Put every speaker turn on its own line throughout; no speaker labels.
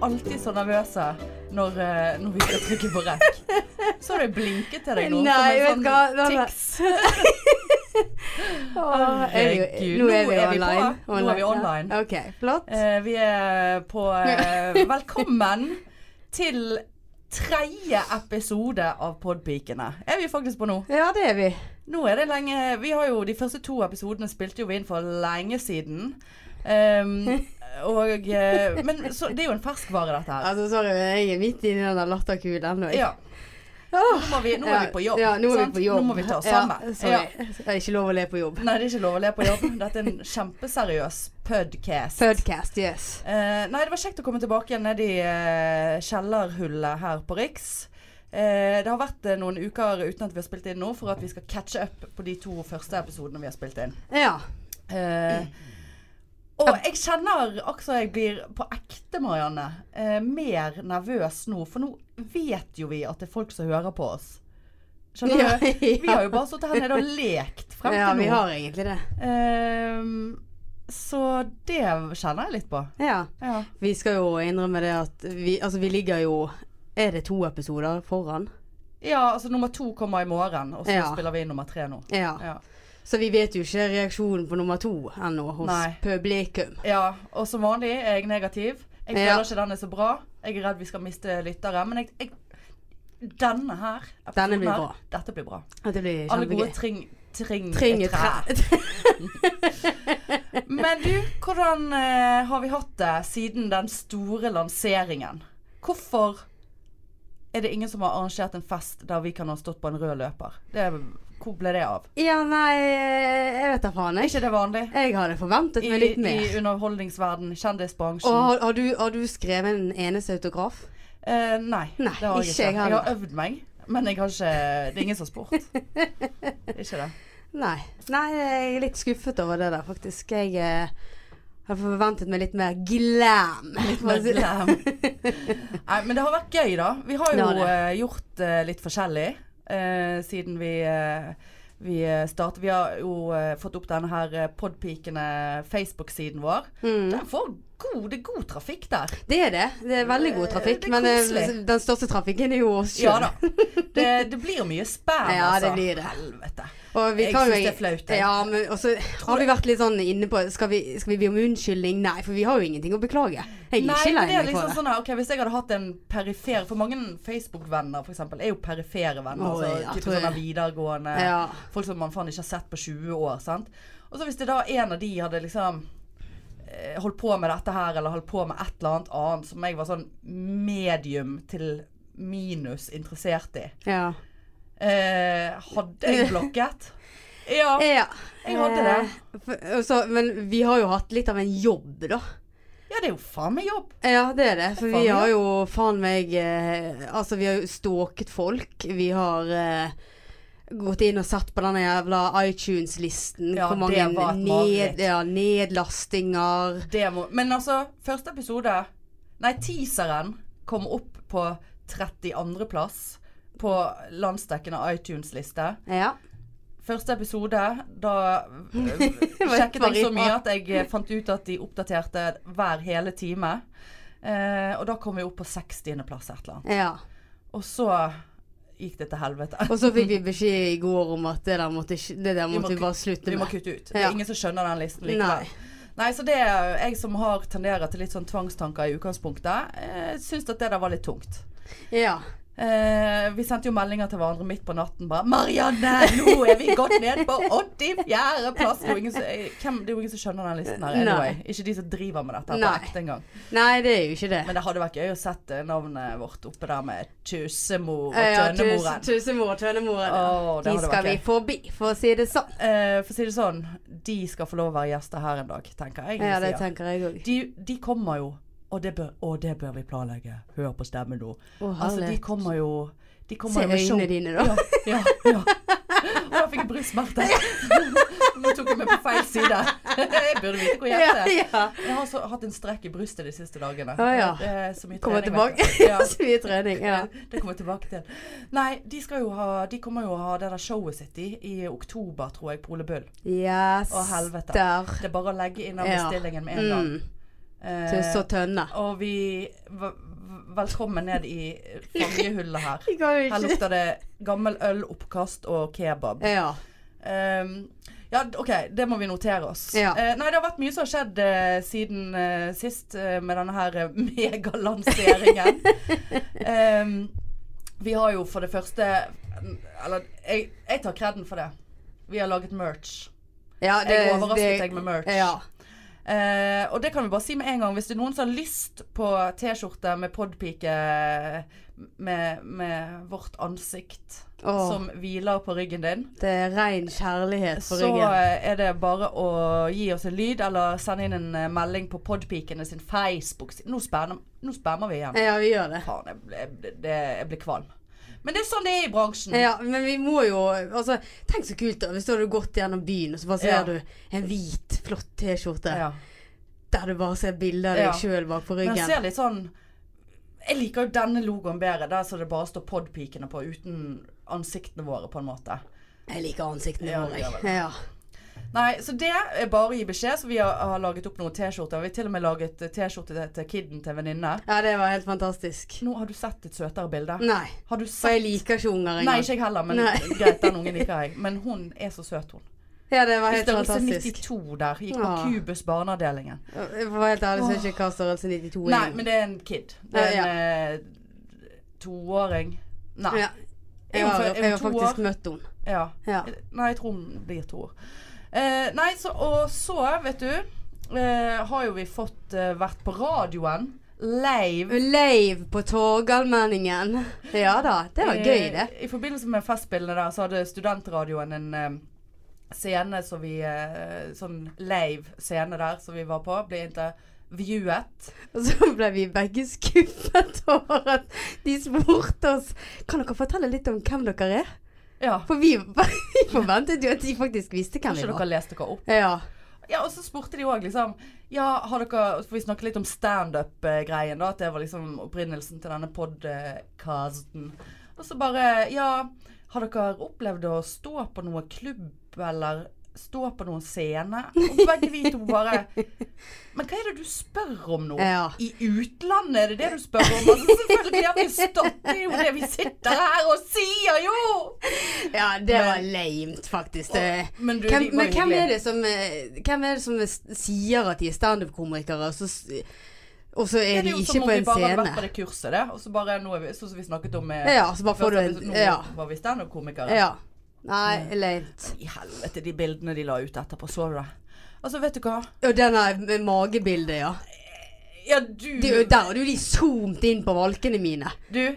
alltid så nervøse når, eh, når vi skal trykke på rekk. Så har du blinket til deg nå. som
Nei,
en
vet
sånn
du hva? Det var-
Tics.
Åh, er vi-
Herregud,
Nå er vi
nå er vi på.
online.
Nå er vi online.
Ja. OK, flott.
Eh, vi er på eh, Velkommen til tredje episode av Podpikene. Er vi faktisk på nå?
Ja, det er vi.
Nå er det lenge Vi har jo de første to episodene spilte jo vi inn for lenge siden. Ehm, og eh, Men så, det er jo en ferskvare, dette her.
Altså, sorry, men jeg er midt inni den der latterkulen ennå. jeg.
Ja.
Åh.
Nå, må vi, nå er vi på jobb.
Ah, Ja, nå er
sant?
vi på jobb.
Nå må vi ta oss sammen.
Ja,
Ja.
sorry. Det er ikke lov å le på jobb.
Nei, det er ikke lov å le på jobb. Dette er en kjempeseriøs podcast.
Podcast, yes.
Eh, nei, det var kjekt å komme tilbake igjen ned i eh, kjellerhullet her på Riks. Eh, det har vært eh, noen uker uten at vi har spilt inn nå, for at vi skal catche up på de to første episodene vi har spilt inn.
Ja. Mm.
Eh, og jeg kjenner også jeg blir på ekte, Marianne, eh, mer nervøs nå. For nå vet jo vi at det er folk som hører på oss. Skjønner
Ja,
du? Vi
ja.
har jo bare sittet her nede og lekt frem til
ja, vi
nå.
har egentlig det.
Ehm, så det kjenner jeg litt på.
Ja.
Ja.
Vi skal jo innrømme det at vi, altså, vi ligger jo Er det to episoder foran?
ja, altså nummer to kommer i morgen, og så
Ja.
spiller vi inn nummer tre nå.
Ja.
Ja,
Så vi vet jo ikke reaksjonen på nummer to ennå hos
Nei.
publikum.
ja og som vanlig er jeg negativ. Jeg
Ja.
føler ikke den er så bra. Jeg er redd vi skal miste lyttere. Men jeg, jeg, denne her
Denne blir
episoden her,
bra.
Dette blir bra.
At det blir
Alle gode
kjempegøy.
tring, tring, er
Trenger
trær.
tre.
Men du, hvordan eh, har vi hatt det siden den store lanseringen? Hvorfor er det ingen som har arrangert en fest der vi kan ha stått på en rød løper? Det, hvor ble det av?
Ja, nei, jeg vet da faen.
Er
Jeg,
ikke det vanlig?
jeg hadde forventet
I,
meg litt
i
mer.
underholdningsverden, kjendisbransjen?
Og har, har, du, har du skrevet en eneste autograf?
Eh, nei,
Nei,
det har jeg
ikke
ikke.
jeg
Jeg
heller.
har øvd meg, men jeg har ikke Det er ingen som har spurt. Ikke det.
Nei. Nei, jeg er litt skuffet over det der, faktisk. Jeg eh, hadde forventet meg litt mer glam.
Litt
for å
mer
si det.
glam. ehm, Nei, men det har vært gøy, da. Vi har
Det
jo
har det.
eh, gjort eh, litt forskjellig eh, siden vi eh, vi eh, startet, vi har jo eh, fått opp denne her eh, Podpikene Facebook-siden vår.
Mm.
Den får god, det er god trafikk der.
Det er det. Det er veldig god
Eh,
trafikk.
det er
Men eh,
koselig.
den største trafikken er jo oss
Ja
sjøl.
da. Det, det blir mye spam,
Ja,
altså.
det blir det.
Helvete.
og vi
Jeg
kan jo-
synes det er flaut, jeg.
Ja, men også har vi vært litt sånn inne på Skal vi, skal vi be om unnskyldning? Nei, for vi har jo ingenting å beklage. Jeg er
Nei,
ikke lei
men det er
meg
liksom
for det.
sånn her, ok, Hvis jeg hadde hatt en perifer For mange Facebook-venner for eksempel, er jo perifere venner.
Oi,
altså,
ja,
typ
tror jeg.
sånne videregående
Ja.
Folk som man faen ikke har sett på 20 år. sant? Og så Hvis det da en av de hadde liksom eh, holdt på med dette her, eller holdt på med et eller annet annet som jeg var sånn medium til minus interessert i,
Ja.
eh, hadde jeg blokket? Ja.
ja.
Jeg hadde det.
Eh, for- og så- men vi har jo hatt litt av en jobb, da.
ja, det er jo faen meg jobb.
Ja, det er det. For
Faen,
vi
ja.
har jo faen meg eh, Altså, vi har jo stalket folk. Vi har eh, gått inn og sett på denne jævla iTunes-listen.
Ja,
Hvor mange
det var et mareritt.
ned, ja, nedlastinger
Det må, men altså, første episode Nei, teaseren kom opp på 32. plass på landsdekkende iTunes-liste.
Ja.
Første episode, da øh,
var
sjekket jeg så
bare-
mye at jeg eh, fant ut at de oppdaterte hver hele time. Eh, og da kom vi opp på 60. plass et eller annet.
ja.
Og så gikk det til helvete.
Og så fikk vi beskjed i går om at det der måtte, ikke- det der
Vi må
måtte vi
ku-
bare slutte
Vi må
med.
kutte ut. Det er
Ja.
ingen som skjønner den listen likevel.
Nei.
Nei, så det er jeg som har tenderer til litt sånn tvangstanker i utgangspunktet. Eh, syns at det der var litt tungt.
Ja.
Eh, vi sendte jo meldinger til hverandre midt på natten bare 'Marianne, nå er vi gått ned på 84. plass!' Det er jo ingen som, eh, hvem, det er jo ingen som skjønner den listen her. Anyway.
Nei.
Ikke de som driver med dette på
Nei.
ekte engang.
Nei, det er jo ikke det.
Men det hadde vært gøy å sette navnet vårt oppe der med Tusemor og
Ja,
Tønnemoren.
tus- Tusemor og Tønnemoren.
Åh, det
De
hadde vært
skal vi
gøy.
forbi, for å si det sånn.
Eh, for å si det sånn, de skal få lov å være gjester her en dag, tenker jeg.
Ja, det
Lucia.
tenker jeg òg.
de, de kommer jo, og det, bør, og det bør vi planlegge. Hør på stemmen nå. Altså, de kommer jo de kommer
Se
jo med show.
øynene dine, da.
Ja, ja, ja. Og da fikk jeg brystsmerter. Nå tok jeg meg på feil side. Jeg burde vite hvor
Ja,
hjertet er.
ja.
Jeg har så, hatt en strekk i brystet de siste dagene.
Å, ja.
Det er så mye
Kommer
trening,
tilbake.
vet du. Ja,
Så mye trening. Ja.
det kommer jeg tilbake til. Nei, de, skal jo ha, de kommer jo å ha det der showet sitt i, i oktober, tror jeg, på Ole Bull.
Yes.
Å, helvete.
Der.
Det er bare å legge inn den
Ja.
bestillingen med en gang.
Mm.
Eh,
Til så tønne.
og vi v- v- Velkommen ned i fangehullet her.
Jeg kan jo
Her lukter det gammel øl, oppkast og kebab.
Ja.
Ehm, ja, d- OK, det må vi notere oss.
Ja.
Eh, nei, det har vært mye som har skjedd eh, siden eh, sist eh, med denne her eh, megalanseringen. Ehm, vi har jo for det første Eller jeg, jeg tar kreden for det. Vi har laget merch.
ja
Jeg overrasket deg med merch.
Ja.
Eh, og det kan vi bare si med en gang. Hvis det er noen som har lyst på T-skjorte med podpike eh, med, med vårt ansikt
Åh.
som hviler på ryggen din,
Det er ren kjærlighet for
så
ryggen.
eh, er det bare å gi oss en lyd eller sende inn en eh, melding på podpikene sin Facebook. Nå spammer, nå spammer vi igjen.
Ja, vi gjør det.
Faen, jeg, ble- jeg, ble- det, jeg blir kvalm. Men det er sånn det er i bransjen.
Ja, men vi må jo altså, Tenk så kult da, hvis du hadde gått gjennom byen og så bare ser
Ja.
du en hvit, flott T-skjorte
Ja.
der du bare ser bilder av deg
Ja.
sjøl bak på
Men jeg
ryggen.
ser litt sånn Jeg liker jo denne logoen bedre, der så det bare står podpikene på uten ansiktene våre, på en måte.
Jeg liker ansiktene
Ja,
våre.
det gjør
jeg. Ja.
Nei, så det er bare å gi beskjed. Så vi har, har laget opp noen T-skjorter. Vi har til og med laget eh, T-skjorte til, til kidden til en venninne.
ja, det var helt fantastisk.
Nå har du sett et søtere bilde.
Nei.
Har du
For
sett
jeg liker ikke unger
Nei,
engang.
ikke jeg heller, men
Nei.
greit, den ungen liker jeg. Men hun er så søt, hun.
Ja, det var
I
helt
størrelse
fantastisk.
92 der. Gikk på
Ja.
Cubus barneavdelingen.
For helt ærlig så er ikke hva størrelse 92 er.
Nei, men det er en kid. Det er
Ja,
en eh, toåring. Nei.
ja.
Er
Jeg
hun
har,
fø- er hun
jeg har
to
faktisk
år?
møtt henne.
Ja.
Ja.
Nei, jeg tror hun blir to år. Eh, nei, så, og så, vet du, eh, har jo vi fått eh, vært på radioen live.
Leiv på Torgallmenningen. Ja da, det var gøy, det.
Eh, I, I forbindelse med Festspillene der, så hadde studentradioen en eh, scene som vi eh, Sånn live scene der som vi var på. Ble intervjuet.
Og så ble vi begge skuffet over at de spurte oss Kan dere fortelle litt om hvem dere er?
Ja.
For vi, vi forventet jo at de faktisk visste hvem vi
Kanskje
var.
dere leste hva opp?
Ja.
Ja, og så spurte de òg, liksom Ja, har dere For vi snakket litt om standup-greien, da. At det var liksom opprinnelsen til denne podcasten. Og så bare Ja, har dere opplevd å stå på noe klubb, eller stå på noen scene? Og begge vi to bare Men hva er det du spør om nå?
ja.
I utlandet, er det det du spør om? Altså, selvfølgelig har vi stått det er jo det vi sitter her og sier, jo!
ja det var lamet, faktisk. Det.
Men du,
Hvem,
de var
men hvem
hyggelige.
er, det som, eh, hvem er det som s- sier at de er standup-komikere, og så, s- og så er
Det
de
jo
ikke
som om
på
vi
en
bare hadde vært på
scene?
det kurset, det. Og så bare nå er vi, sånn som vi snakket om med
Ja, så bare får du
Først,
en
sånn, Nå
Ja.
var vi standup-komikere.
ja. Nei, lame.
I helvete, de bildene de la ut etterpå, så du det? Altså, vet du hva?
Og denne magebildet, ja.
Ja, du
Det, er jo- der hadde jo de zoomet inn på valkene mine.
Du,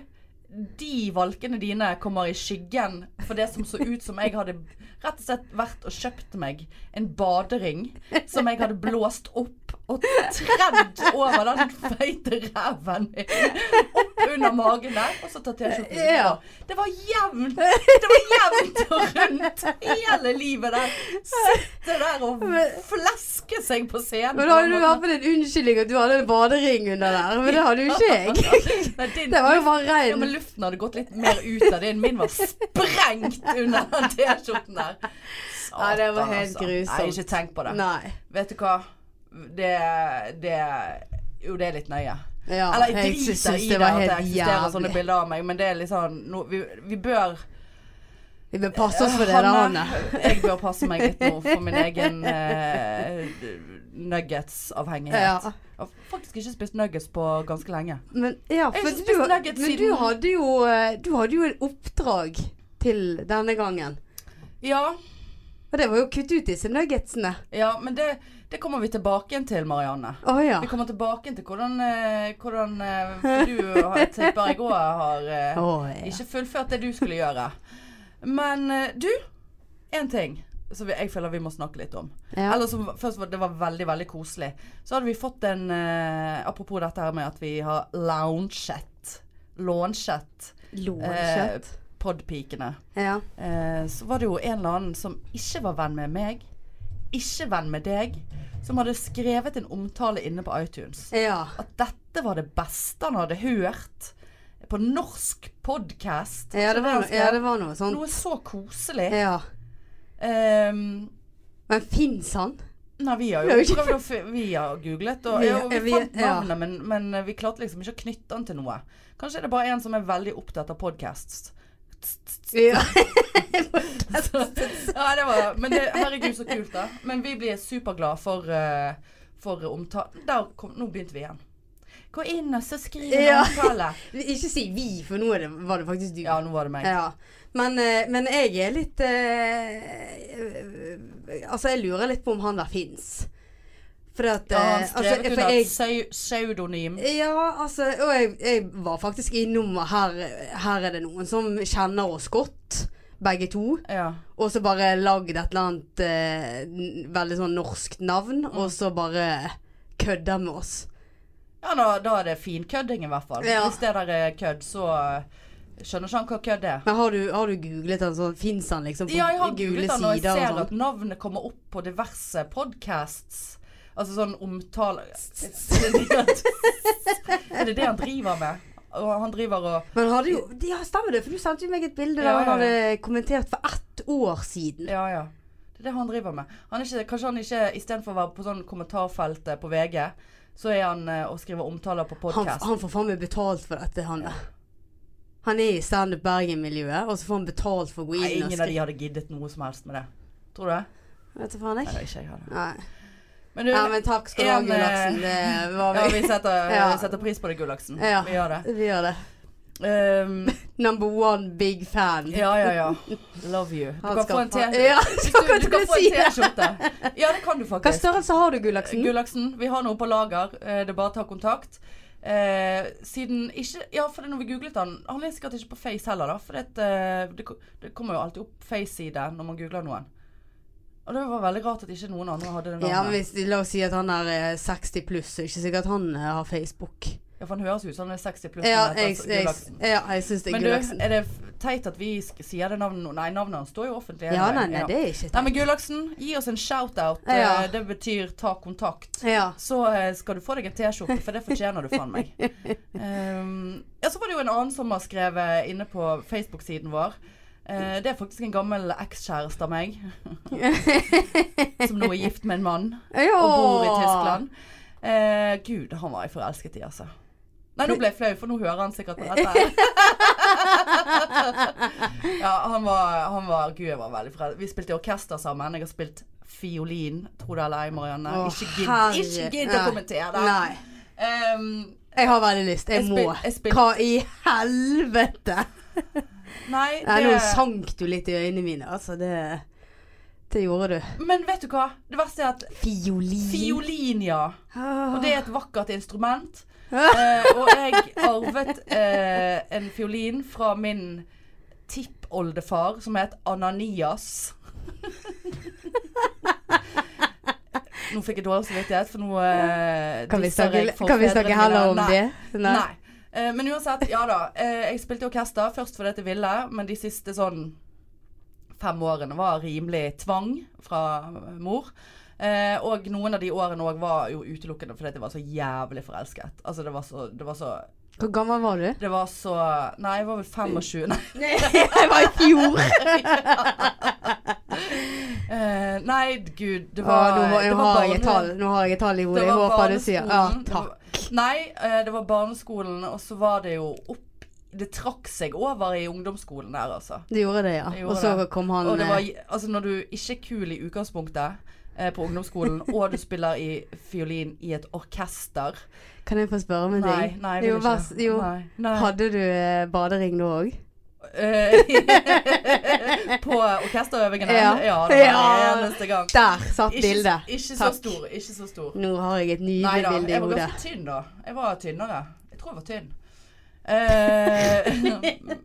de valkene dine kommer i skyggen for det som så ut som jeg hadde rett og slett vært og kjøpt meg en badering som jeg hadde blåst opp og tredd over den feite ræven min. Opp under magen der, og så tatt T-skjorten.
Ja.
på. Det var jevnt! Det var jevnt og rundt hele livet der. Sitte der og fleske seg på scenen.
Men da hadde du i hvert fall en unnskyldning at du hadde en badering under der, men det hadde jo ikke jeg.
Nei, din-
Det var jo bare
Ja, men
rein.
luften hadde gått litt mer ut av din. Min var sprengt under den T-skjorten der. Satan, altså.
Ja, det var helt grusomt.
Nei, ikke tenk på det.
Nei.
Vet du hva? Det, det Jo, det er litt nøye.
Ja,
Eller jeg
jeg synes
driter i
det
det
var
at det
helt
eksisterer sånne
jævlig.
bilder av meg, men det er litt sånn no, vi, vi bør
Vi bør passe oss for det der,
Hanne,
Hanne.
Jeg bør passe meg litt nå for min egen eh, nuggets-avhengighet.
Ja.
Jeg har faktisk ikke spist nuggets på ganske lenge.
Men, ja,
Jeg
for
har ikke spist
du,
nuggets
men du
siden-
hadde jo eh, Du hadde jo en oppdrag til denne gangen.
Ja,
Og det var jo å kutte ut disse nuggetsene.
ja men det, det kommer vi tilbake igjen til, Marianne.
Å ja.
Vi kommer tilbake til hvordan, eh, hvordan eh, for du har- tipper jeg òg har eh,
Å, ja.
ikke fullført det du skulle gjøre. Men eh, du, én ting som vi- jeg føler vi må snakke litt om.
Ja.
Eller som først var, Det var veldig veldig koselig. Så hadde vi fått en eh, Apropos dette her med at vi har launchet Launchet eh,
Lårkjøtt.
podpikene.
Ja.
Eh, så var det jo en eller annen som ikke var venn med meg, ikke venn med deg, som hadde skrevet en omtale inne på iTunes
ja.
at dette var det beste han hadde hørt på norsk podkast.
Ja, det var, no- ja, det var noe sånt.
Noe så koselig.
Ja.
Ehm,
Men fins han?
Nei, vi har
Vi har
jo
jo ikke-
prøvd å fi- Vi har googlet, og
Vi-
ja, vi,
vi-
fant
ja.
navnet, men, men vi klarte liksom ikke å knytte den til noe. Kanskje er det bare en som er veldig opptatt av podcasts.
Ja.
Ja, det var Men det, herregud, så kult, da. Men vi blir superglad for, eh, for omtale Der kom Nå begynte vi igjen. Gå inn og så skriv en
Ja.
omtale.
Ikke si vi, for nå er det, var det faktisk du.
Ja, nå var det meg.
Ja. Men, eh, men jeg er litt eh, Altså, jeg lurer litt på om han der fins. For at
Ja, han
eh,
skrev
altså,
under
for jeg,
et pseu- pseudonym.
Ja, altså Og jeg, jeg var faktisk innom og her, her er det noen som kjenner oss godt, begge to.
Ja.
Og så bare lagd et eller annet eh, n- veldig sånn norskt navn,
Mm.
og så bare kødda med oss.
Ja, da, da er det finkødding i hvert fall.
Ja.
Hvis det der er kødd, så eh, skjønner ikke han hva kødd er.
Men har du, har du googlet den, så fins han liksom på
Ja, jeg har
gule
googlet den, og jeg
sider
ser
og sånn?
at navnet kommer opp på diverse podcasts. Altså sånn omtale Er det det han- Er det det han driver med? Og han driver og
Men hadde jo Ja, stemmer det, for du sendte jo meg et bilde der
Ja,
han
ja, ja.
hadde kommentert for ett år siden.
Ja, ja. Det er det han driver med. Han er ikke, kanskje han ikke istedenfor å være på sånn kommentarfeltet på VG, så er han eh, og skriver omtaler på
Han,
podkast.
han får faen meg betalt for dette, han der. Han er i standup Bergen-miljøet, og så får han betalt for å gå inn og
Ingen av
skrive.
de hadde giddet noe som helst med det. Tror du det?
Vet du faen,
Nei,
jeg.
det er ikke jeg hadde.
Nei.
Men du,
Ja, men takk skal du ha,
en, eh,
Gullaksen. Det var
ja,
vi.
vi setter,
Ja.
setter pris på det, Gullaksen.
Ja.
Vi gjør det.
Vi gjør det.
Ehm,
Number one big fan.
Ja, ja, ja. Love you. Du
Han
kan
skal
få en
faen-
T-skjorte.
Ja,
Du,
skal
du kan få en
si det.
T-skjorte. Ja, det kan du
Hva
faktisk.
størrelse har du, Gullaksen?
Gullaksen, vi har noe på lager. Eh, Det er bare å ta kontakt. Eh, siden ikke Ja, for det når vi googlet han Han er sikkert ikke på Face heller, da. For det, eh, det, ko- det kommer jo alltid opp Face-side når man googler noen. Og det var veldig rart at ikke noen andre hadde det navnet.
Ja,
Ja,
men hvis, La oss si at han er eh, 60 pluss, så er det ikke sikkert han eh, har Facebook.
for han høres ut som han er 60 pluss.
Ja,
men heter
jeg,
altså
jeg,
Gullaksen.
ja, jeg syns det er
men du,
Gullaksen.
er det f- teit at vi sk- sier det navnet nå? Nei, navnet hans står jo offentlig.
Ja, nei,
anyway.
nei,
Ja.
det er ikke
Nei, men Gullaksen, gi oss en shout-out.
Ja.
Eh, Det betyr ta kontakt.
Ja.
Så eh, skal du få deg en T-skjorte, for det fortjener du faen meg. Um, ja, så var det jo en annen som har skrevet inne på Facebook-siden vår.
Mm.
Eh, det er faktisk en gammel ekskjæreste av meg. som nå er gift med en mann og bor i Tyskland. Eh, Gud, han var jeg forelsket i, altså. Nei, nå ble jeg flau, for nå hører han sikkert på dette. ja, han var, han var Gud, jeg var veldig forelsket. Vi spilte i orkester sammen. Jeg har spilt fiolin, tro det eller ei, Marianne.
Å,
ikke gidd
herre-
ikke gidd å
Nei.
kommentere det.
Nei.
Ehm,
Jeg har veldig lyst. Jeg,
Jeg
må.
spil- jeg spil-
Hva i helvete?
nei,
Nei, nå
det
sank du litt i øynene mine. Altså, det Det gjorde du.
Men vet du hva? Det verste er at
Fiolin.
fiolin, ja.
Ah.
Og det er et vakkert instrument. Eh, og jeg arvet eh, en fiolin fra min tippoldefar som het Ananias. nå fikk jeg dårlig samvittighet, for nå eh,
Kan vi
disser
snakke,
jeg
kan vi
forfedrene
snakke
mine.
heller om
Nei.
det?
Nei. Eh, men uansett, ja da. Eh, jeg spilte i orkester først fordi jeg ville, men de siste sånn fem årene var rimelig tvang fra mor. Eh, og noen av de årene òg var jo utelukkende fordi jeg var så jævlig forelsket. Altså det var så Det var så,
Hvor gammel var du?
det var så Nei, jeg var vel 25. Nei.
jeg var i fjor.
Eh, nei, gud. Det
Å,
var,
nå, må-
det
nå,
var
har jeg et
barne-
tall, nå har jeg et tall i hodet.
Det
Jeg
var
håper du sier Ja,
barneskolen.
takk.
Det var- Nei, eh, det var barneskolen, og så var det jo opp Det trakk seg over i ungdomsskolen der, altså.
Du gjorde det, ja.
Jeg
Og
gjorde
så
det.
kom han
Og det
eh,
var, altså når du ikke er kul i utgangspunktet eh, på ungdomsskolen, og du spiller i fiolin i et orkester
Kan jeg få spørre om en
Nei,
ting?
nei, jeg
jo,
vil
vær s-
ikke.
jo.
Nei, nei.
Hadde du eh, badering nå òg?
Eh, på orkesterøvingene? Ja.
Ja.
det var
Ja.
eneste gang.
Der satt
Ikke,
bildet.
ikke så
Takk.
stor. Ikke så stor.
Nå har jeg et
Nei
nydelig
da,
bilde i
jeg var
hodet.
ganske tynn da. Jeg var tynnere. Jeg tror jeg var tynn. Eh,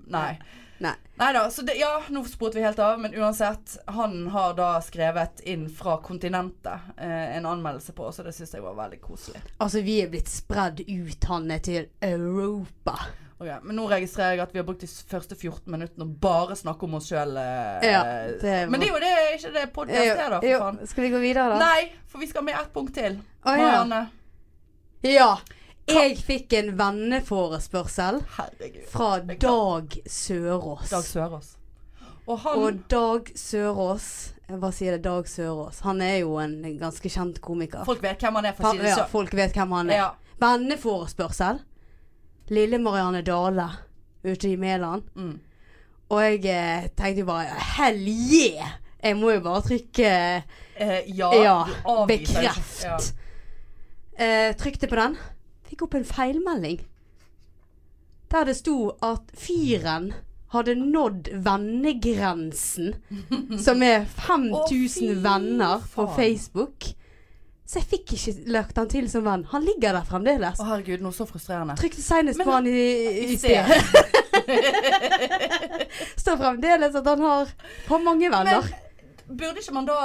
nei.
Nei.
da. Så det, ja, nå spurte vi helt av, men uansett. Han har da skrevet inn fra kontinentet eh, en anmeldelse på, så det syns jeg var veldig koselig.
Altså, vi er blitt spredd ut, Hanne, til Europa.
Ok, men nå registrerer jeg at vi har brukt de s- første 14 minuttene å bare snakke om oss sjøl. Eh,
Ja, det var-
Men det er jo det, er ikke det podkast er, da,
Jo,
for faen.
Skal vi gå videre, da?
Nei, for vi skal med ett punkt til.
Å, ja.
Marianne.
Ja. Jeg fikk en venneforespørsel
Herregud.
fra
Det er klart.
Dag Sørås.
Dag Sørås. Og han
Og Dag Sørås Jeg bare sier det, Dag Sørås. Han er jo en ganske kjent komiker.
Folk vet hvem han er, for å
Fa-
si det
ja,
sånn.
folk vet hvem han er.
Ja.
Venneforespørsel. Lille Marianne Dale ute i Mæland.
Mm.
Og jeg eh, tenkte jo bare Hell yeah! Jeg må jo bare trykke
Eh, ja,
Ja.
du avviser jo ikke-
Bekreft.
Ja.
Eh, trykte på den. Fikk opp en feilmelding. Der det sto at fyren hadde nådd vennegrensen, som er
Å, fy
5000 venner på
faen.
Facebook. Så jeg fikk ikke lagt han til som venn. Han ligger der fremdeles.
Å herregud, noe så frustrerende.
Trykte senest
Men
på han i, i sted. Står fremdeles at han har for mange venner.
Burde ikke man da,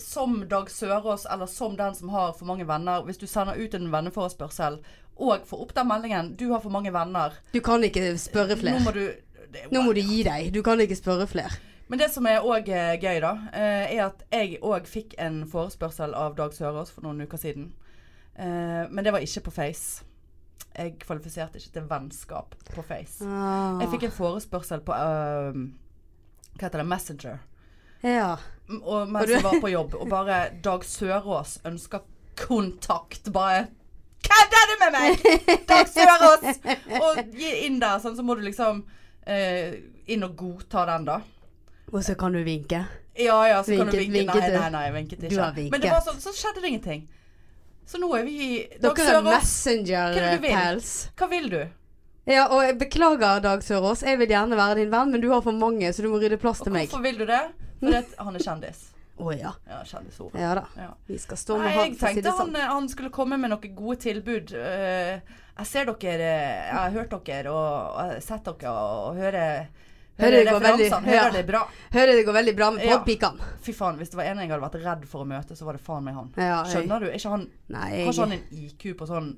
som Dag Sørås, eller som den som har for mange venner, hvis du sender ut en venneforespørsel, og får opp den meldingen 'Du har for mange venner',
du kan ikke spørre
nå må
flere.
du det,
Nå må du gi deg. Du kan ikke spørre flere.
Men det som er òg gøy, da, eh, er at jeg òg fikk en forespørsel av Dag Sørås for noen uker siden. Eh, Men det var ikke på Face. Jeg kvalifiserte ikke til vennskap på Face. Jeg fikk en forespørsel på eh, Hva heter det? Messenger.
Ah, Ja.
M- Og
Og
mens
du-
jeg var på jobb, og bare Dag Sørås ønsker kontakt. Bare Kødder du med meg?! Dag Sørås! Og gi inn der, sånn, så må du liksom eh, inn og godta den, da.
Og så kan du vinke.
Ja ja, så kan du
Vinket-
vinke. Nei,
vinket du?
nei, nei, jeg vinket ikke.
Du har vinket.
Men det var sånn, så skjedde det ingenting. Så nå er vi i Dag
Dere er
Sørås, Hva er det du vil?
Messenger-pels.
hva vil du?
Ja, og jeg beklager, Dag Sørås. Jeg vil gjerne være din venn, men du har for mange, så du må rydde plass
Og
til meg. Å
hvorfor vil du det? Fordi at han er kjendis.
ja.
Ja, kjendishore.
Ja da.
Ja.
Vi skal stå
Nei,
med
jeg
han, for å si
tenkte
det sånn.
han, eh, han skulle komme med noen gode tilbud. Eh, jeg ser dere, eh, jeg har hørt dere og, og jeg har sett dere og, og hører, hører
det går veldig-
referansene.
ja.
Hører det bra.
Hører det går veldig bra med
Ja.
podpikene.
Fy faen, hvis det var en jeg hadde vært redd for å møte, så var det faen meg han.
Ja, jeg-
Skjønner du? Er Ikke han,
Nei,
har ikke
jeg,
han en IQ på sånn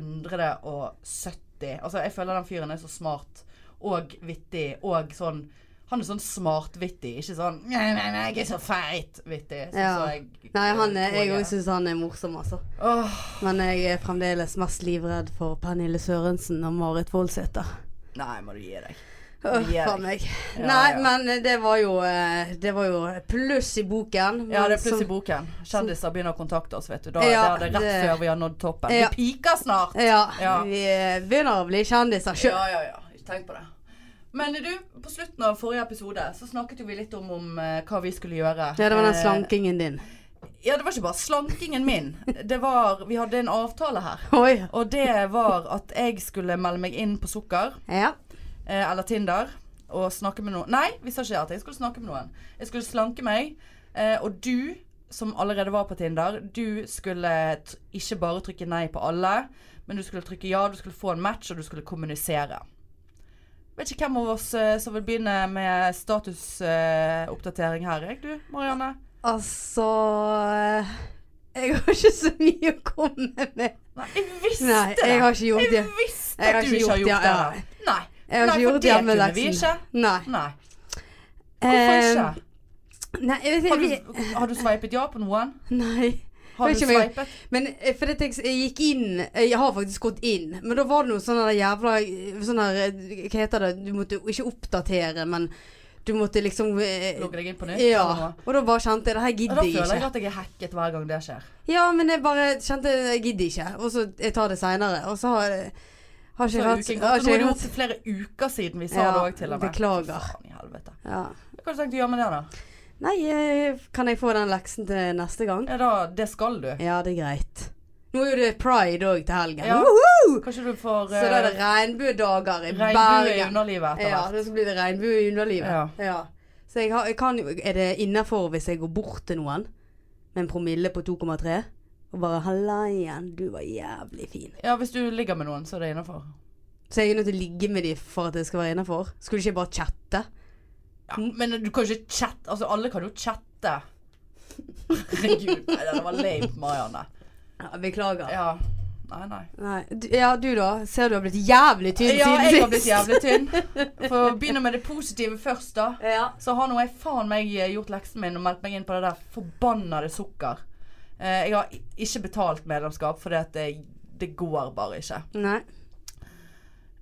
170? Altså, jeg føler den fyren er så smart og vittig og sånn Han er sånn smartvittig, ikke sånn Nei, nei, nei, jeg er så feit-vittig. sånn
Ja.
som jeg-
nei han, er- jeg
tror
òg syns han er morsom, altså.
Åh.
Men jeg er fremdeles mest livredd for Pernille Sørensen og Marit Voldsæter.
Nei, må du gi deg.
Åh,
Gi deg.
faen meg.
Ja,
Nei,
ja.
men det var jo eh, Det var jo pluss i boken.
Ja,
men
det er pluss i
som-
boken. Kjendiser begynner å kontakte oss, vet du. Da
Ja,
det er det rett
det-
før vi har nådd toppen.
Ja.
Vi piker snart!
Ja,
Ja.
Vi eh, begynner å bli kjendiser sjøl.
Ja, ja, ja. Ikke tenk på det. Men du, på slutten av forrige episode så snakket jo vi litt om, om eh, hva vi skulle gjøre.
Ja, det var den
Eh,
slankingen din.
Ja, det var ikke bare slankingen min. Det var Vi hadde en avtale her.
Oi.
Og det var at jeg skulle melde meg inn på sukker,
Ja.
eh, eller Tinder, og snakke med noen Nei, vi sa ikke at jeg skulle snakke med noen. Jeg skulle slanke meg, eh, og du som allerede var på Tinder, du skulle t ikke bare trykke nei på alle, men du skulle trykke ja, du skulle få en match, og du skulle kommunisere. Vet ikke hvem av oss eh, som vil begynne med statusoppdatering her, jeg du, Marianne?
Altså eh, Jeg har ikke så mye å komme med.
Nei, jeg visste
Nei,
det!
jeg har ikke gjort det.
Jeg visste
Jeg har
at du
ikke
ikke har
gjort
gjort
det,
det.
ja.
her. Nei,
Jeg har
nei
ikke
for
gjort
det kunne vi
hjemmeleksen.
ikke.
Nei.
Nei, hvorfor ikke?
Hvorfor Nei, jeg vet
Har
ikke.
du, har du sveipet ja på noen?
Nei.
Har
Vet
du
ikke om jeg-
sveipet?
Men eh, for det, jeg gikk inn eh, Jeg har faktisk gått inn, men da var det noe sånn der jævla sånn der, eh, Hva heter det? Du måtte ikke oppdatere, men du måtte liksom eh,
Logge deg inn på nytt? eller
Ja.
noe?
Og da bare kjente jeg det her
Ja,
gidder
Da
jeg
føler jeg
ikke.
at jeg er hacket hver gang det skjer.
Ja, men jeg bare kjente jeg gidder ikke. Og så jeg tar det seinere. Og så har,
Så
har ikke jeg
er
hatt
uken
har
gått, og nå
ikke
er det
jeg
jo
hatt-
opptil flere uker siden vi sa
Ja,
det òg, til og med.
beklager.
Faen i helvete.
ja.
Hva har du tenkt å gjøre med det, da?
Nei, eh, kan jeg få den leksen til neste gang?
Ja, da, Det skal du.
Ja, det er greit. Nå er jo det pride òg til helgen.
Ja.
Woho!
Kanskje du får
Så da er det regnbuedager i
regnbue i
Bergen.
underlivet etter
Ja,
hvert.
det så blir det regnbue i underlivet.
Ja.
Ja. Så jeg, har, jeg kan jo Er det innafor hvis jeg går bort til noen med en promille på 2,3 og bare 'Halla igjen, du var jævlig fin'.
Ja, hvis du ligger med noen, så er det innafor.
Så jeg er nødt til å ligge med de for at det skal være innafor? Skulle du ikke bare chatte?
Ja,
Mm.
men du kan ikke chatte Altså, alle kan jo chatte. Herregud, nei, det var lame, Marianne.
Ja, beklager. Ja.
Ja. Nei, nei.
Nei. Du, ja, du da? Ser du har blitt jævlig tynn
Ja,
siden sist.
jeg har blitt jævlig tynn. For å begynne med det positive først, da.
Ja.
Så har nå jeg faen meg eh, gjort leksen min og meldt meg inn på det der forbannede sukker. Eh, Jeg har i- ikke betalt medlemskap, for det, det går bare ikke.
Nei.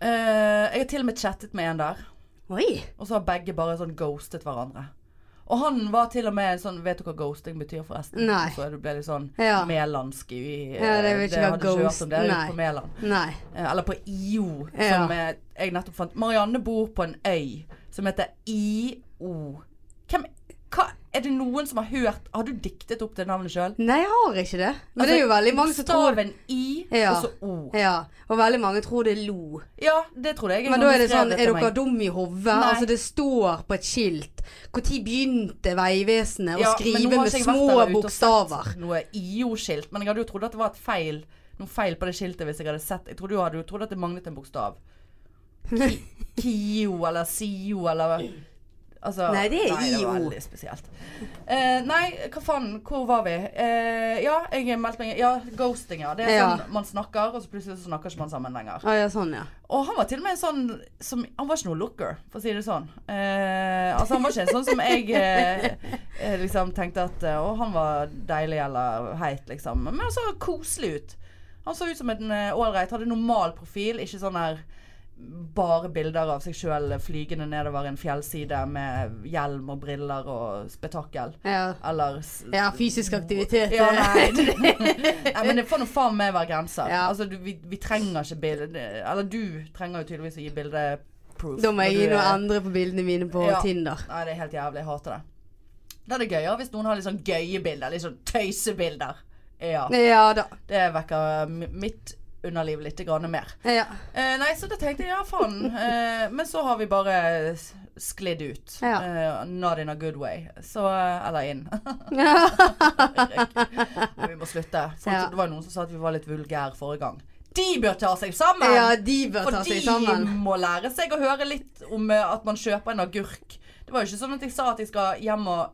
Eh, Jeg har til og med chattet med en der.
Oi.
Og så har begge bare sånn ghostet hverandre. Og han var til og med en sånn Vet du hva ghosting betyr, forresten?
Nei.
Så du ble litt sånn
Ja.
melandsk i
Ja, det vet
hadde
ikke hva
ikke hørt om det
ghost-
ute
nei.
på Mæland.
Nei.
Eh, Eller på IO,
Ja.
som eh, jeg nettopp fant. Marianne bor på en øy som heter IO. Hvem hva, Er det noen som har hørt Har du diktet opp det navnet sjøl?
Nei, jeg har ikke det. Men det er
Altså,
jo veldig mange som tror
Staven I
Ja.
og så O.
Ja, og veldig mange tror det er lo.
Ja, det trodde jeg.
Men da er det
skrev
sånn, er
til meg.
dere dumme i hodet?
Nei.
Altså det står på et skilt. Når begynte Vegvesenet
Ja, men nå
å
har
skrive med
ikke jeg vært
små
der ute og
bokstaver?
sett Noe IO-skilt, men jeg hadde jo trodd at det var et feil noe feil på det skiltet hvis jeg hadde sett Jeg trodde jo, hadde jo trodd at det manglet en bokstav. Ki- Kio eller Sio eller Altså,
Nei, det
det var
er IO.
veldig spesielt. Eh, nei, hva faen, hvor var vi? Eh, ja, jeg meldte meg Ja, ghosting, ja. Det er
Ja.
sånn man snakker, og så plutselig så snakker ikke man sammen lenger.
Å ja, sånn ja.
Og han var til og med en sånn som, Han var ikke noe looker, for å si det sånn. Eh, altså Han var ikke en sånn som jeg eh, eh, liksom tenkte at eh, Å, han var deilig eller heit, liksom. Men han så koselig ut. Han så ut som en eh, ålreit, hadde normal profil, ikke sånn her bare bilder av seg sjøl flygende nedover en fjellside med hjelm og briller og spetakkel.
Ja,
Eller s-
ja fysisk aktivitet.
ja,
eh,
nei, det, nei, men det får nå faen meg være grenser.
Ja.
Altså, du, vi, vi trenger ikke bilde Eller du trenger jo tydeligvis å gi bildeproof.
Da må jeg
når
inn
du
og
er-
endre på bildene mine på
Ja.
Tinder.
Nei, det er helt jævlig. Jeg hater det. Da er det gøyere hvis noen har litt sånn gøye bilder. Litt sånn tøysebilder. Ja.
Ja da.
Det vekker mi- mitt underliv litt grann mer.
Ja.
Eh, nei, så da tenkte jeg ja, faen. Eh, men så har vi bare s- sklidd ut.
Ja.
Eh, not in a good way. Så eh, Eller inn. vi må slutte. Folk,
Ja.
Det var jo noen som sa at vi var litt vulgære forrige gang. De bør ta seg sammen!
ja, de bør ta
for
seg
de
sammen.
må lære seg å høre litt om eh, at man kjøper en agurk. Det var jo ikke sånn at jeg sa at jeg skal hjem og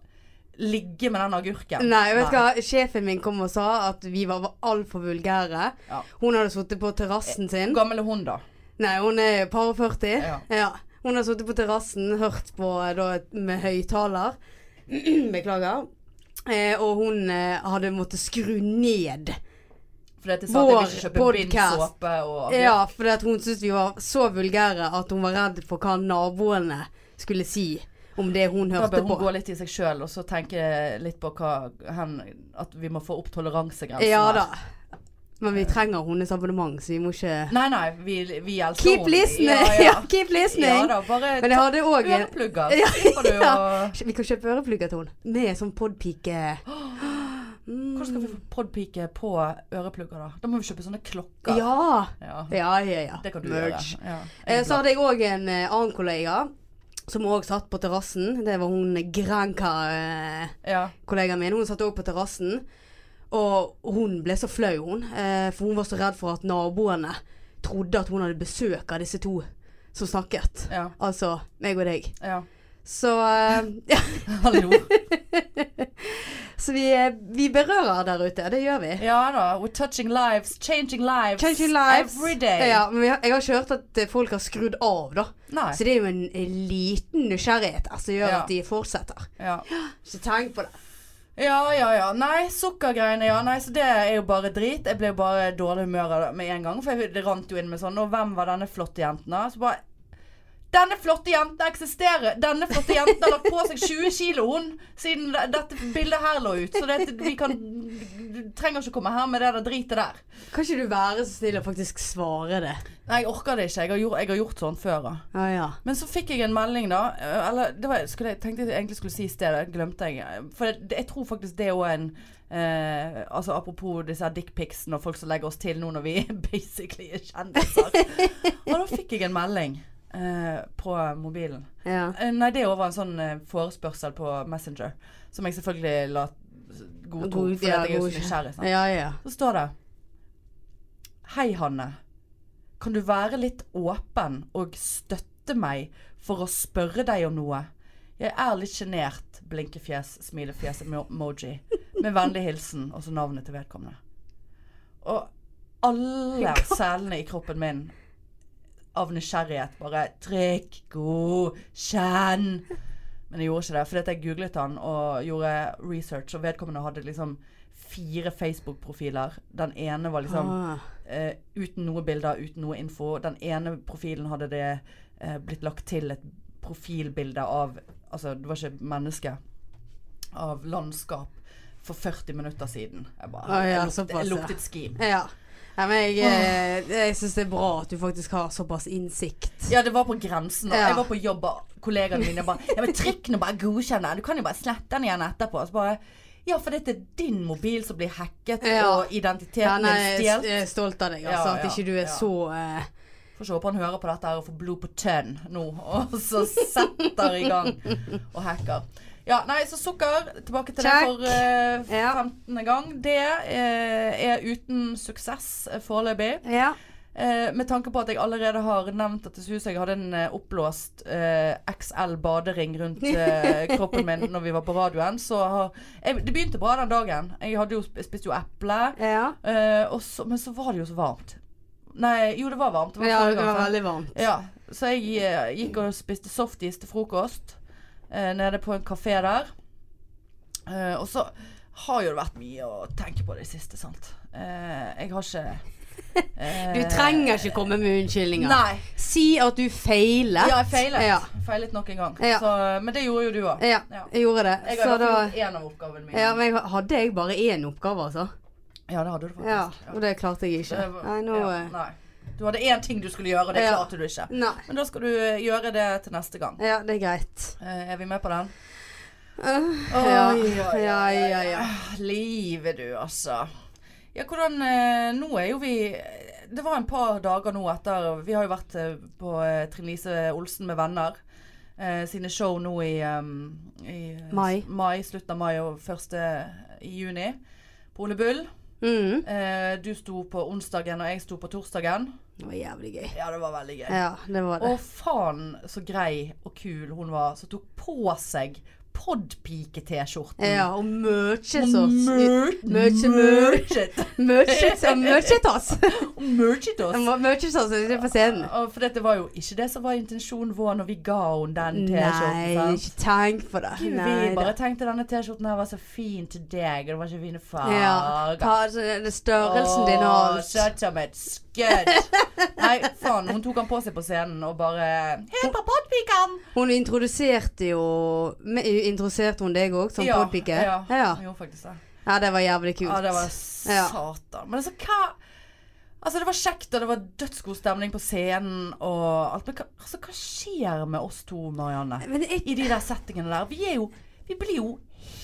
ligge med den agurken.
Nei, vet du hva? Sjefen min kom og sa at vi var altfor vulgære.
Ja.
Hun hadde sittet på terrassen sin.
Hvor gammel er hun, da?
Nei, hun er par og 40.
Ja.
Eh, Ja. Hun har sittet på terrassen, hørt på eh, da, med høyttaler. Beklager. Eh, og hun eh, hadde måttet skru ned.
For dette sa at jeg vil ikke kjøpe
Vår
bind,
podcast.
såpe og agurk.
Ja, fordi at hun syntes vi var så vulgære at hun var redd for hva naboene skulle si om det hun
Da
hørte
bør hun
på.
gå litt i seg sjøl og så tenke litt på hva hen, At vi må få opp toleransegrensen.
Ja
her.
da. Men vi trenger hennes abonnement, så vi må ikke
Nei, nei, vi, vi elsker
Keep
henne.
listening! Ja,
Ja, ja.
keep listening!
ja da, bare
Men jeg hadde òg en
Øreplugger.
Ja,
Slipper du
ja.
å-
Vi kan kjøpe øreplugger til henne. Med sånn podpike Mm.
Hvordan skal vi få podpike på øreplugger, da? Da må vi kjøpe sånne klokker.
Ja!
Ja,
Ja, ja, ja.
Det kan du
Merge.
gjøre. Ja,
Eh, så hadde jeg òg en eh, annen kollega som òg satt på terrassen. Det var hun Granca-kollegaen
ja.
min. Hun satt òg på terrassen. Og hun ble så flau, hun. Eh, for hun var så redd for at naboene trodde at hun hadde besøk av disse to som snakket.
ja,
Altså meg og deg.
ja.
Så, eh,
Hallo.
så vi, eh, vi berører der ute. Det gjør vi.
Ja da. We're touching lives. Changing lives.
Changing lives.
Every day.
Ja, men vi har- jeg har ikke hørt at eh, folk har skrudd av, da.
Nei.
Så det er jo en en liten nysgjerrighet altså, som gjør
Ja.
at de fortsetter.
Ja.
Så tenk på det.
Ja, ja, ja. Nei, sukkergreiene, ja. Nei, så det er jo bare drit. Jeg ble jo bare i dårlig humør av det med en gang. For jeg, det rant jo inn med sånn Og hvem var denne flotte jenten, da? Så bare Denne flotte jenta eksisterer! Denne flotte jenten har lagt på seg 20 kilo, hun! Siden de- dette bildet her lå ut. Så det, vi kan Du trenger ikke komme her med det der dritet der.
Kan ikke du være så snill og faktisk svare det?
Nei, jeg orker det ikke. Jeg har gjort, jeg har gjort sånn før, da.
Ja, ja.
Men så fikk jeg en melding, da. eh, Eller det var, skulle, jeg tenkte jeg egentlig skulle si i stedet, glemte jeg. For det, jeg tror faktisk det er også en eh, Altså apropos disse her dickpicsene og folk som legger oss til nå når vi basically er kjendiser. og da fikk jeg en melding eh, på mobilen.
ja.
Eh, nei, det òg var en sånn eh, forespørsel på Messenger, som jeg selvfølgelig la godtok,
God-
fordi
ja,
at jeg er jo
god-
så nysgjerrig. sant?
Ja, ja.
Så står det Hei, Hanne. Kan du være litt åpen og støtte meg for å spørre deg om noe? Jeg er litt sjenert. Blinkefjes, smilefjes, emo- emoji. Med vennlig hilsen, og så navnet til vedkommende. Og alle selene i kroppen min av nysgjerrighet bare Trykk, god, kjenn. Men jeg gjorde ikke det, fordi at jeg googlet han og gjorde research, og vedkommende hadde liksom fire Facebook-profiler. Den ene var liksom
Ah.
eh, uten noe bilder, uten noe info. Den ene profilen hadde det eh, blitt lagt til et profilbilde av Altså, det var ikke menneske. Av landskap for 40 minutter siden. Jeg bare
Å, Ah, ja,
jeg, lukte,
såpass,
jeg
ja.
luktet skim.
Ja. ja men jeg, eh, jeg syns det er bra at du faktisk har såpass innsikt.
Ja, det var på grensen. Og
Ja.
Jeg var på jobb, og kollegaene mine bare Ja, men trykk nå bare godkjenn den. Du kan jo bare slette den igjen etterpå. Så bare Ja, for dette er din mobil som blir hacket,
Ja.
og identiteten
Ja, nei,
din
jeg
stjålet.
jeg er eh, stolt av deg,
Ja,
altså. At
ja,
ikke du er
ja.
så eh,
Får se på han hører på dette her og får blod på tønn nå, og så setter i gang og hacker. Ja, nei, så sukker, tilbake til det
Check.
for eh,
Ja.
15. gang. Det eh, er uten suksess eh, foreløpig.
Ja.
Eh, med tanke på at jeg allerede har nevnt at jeg synes jeg hadde en eh, oppblåst eh, XL badering rundt eh, kroppen min når vi var på radioen, så har jeg, Det begynte bra den dagen. Jeg hadde jo sp- spist jo eple,
Ja.
eh, og så, men så var det jo så varmt. Nei, jo det var varmt.
ja,
forrige
det
gang,
var
sant?
veldig varmt.
Ja, så jeg eh, gikk og spiste softis til frokost eh, nede på en kafé der. Eh, og så har jo det vært mye å tenke på i det siste, sant. Eh, jeg har ikke eh,
Du trenger ikke komme med unnskyldninger.
Nei.
Si at du feilet.
Ja, jeg feilet.
Ja,
Feilet nok en gang.
Ja.
Så, men det gjorde jo du òg.
ja
Ja.
jeg gjorde det.
Jeg
så
hadde
da
gjort én av oppgavene mine.
ja, men jeg, Hadde jeg bare én oppgave, altså?
Ja, det hadde du faktisk.
Ja,
Ja.
og det klarte jeg ikke.
Det var-
Nei, nå
ja,
eh,
nei. Du hadde én ting du skulle gjøre, og det
Ja.
klarte du ikke.
Nei.
Men da skal du eh, gjøre det til neste gang.
Ja, det er greit.
Eh, er vi med på den?
Øh,
Oi,
Ja,
oi, oi,
ja,
oi,
ja,
oi.
ja.
Ah, Livet, du, altså. Ja, hvordan eh, Nå er jo vi eh, Det var en par dager nå etter Vi har jo vært eh, på eh, Trine Lise Olsen med venner eh, sine show nå i, eh, i eh,
Mai.
mai. Slutten av mai og første eh, i juni. På Ole Bull.
Mm.
Eh, du sto på onsdagen, og jeg sto på torsdagen.
Det var jævlig gøy.
Ja, det var veldig gøy.
Ja, det var det.
Og faen så grei og kul hun var, som tok på seg podpike-T-skjorten.
Ja, og mye
Og
så
merch-
merch-
merchet.
Mye så mye tass.
Merchet oss.
Mye tass ute på scenen.
Og for dette var jo ikke det som var intensjonen vår når vi ga henne den
Nei,
T-skjorten. sant?
ikke tenk på det.
Gud,
Nei,
vi
da.
bare tenkte denne T-skjorten her var så fin til deg, og det var så fine farger.
Ja, ta så det- det størrelsen din og
Åh,
alt.
Kjøtt som et skudd. Nei, faen. Hun tok han på seg på scenen og bare Hei på podpiken!
Hun introduserte jo me- Introduserte hun deg òg som podpike?
Ja,
Ja.
ja. Jo, faktisk det.
Ja, det var jævlig kult.
Ja, det var
Ja.
satan. Men altså, hva Altså, det var kjekt, og det var dødsgod stemning på scenen og alt. Men hva, altså, hva skjer med oss to, Marianne?
Men jeg,
I de der settingene der. Vi er jo Vi blir jo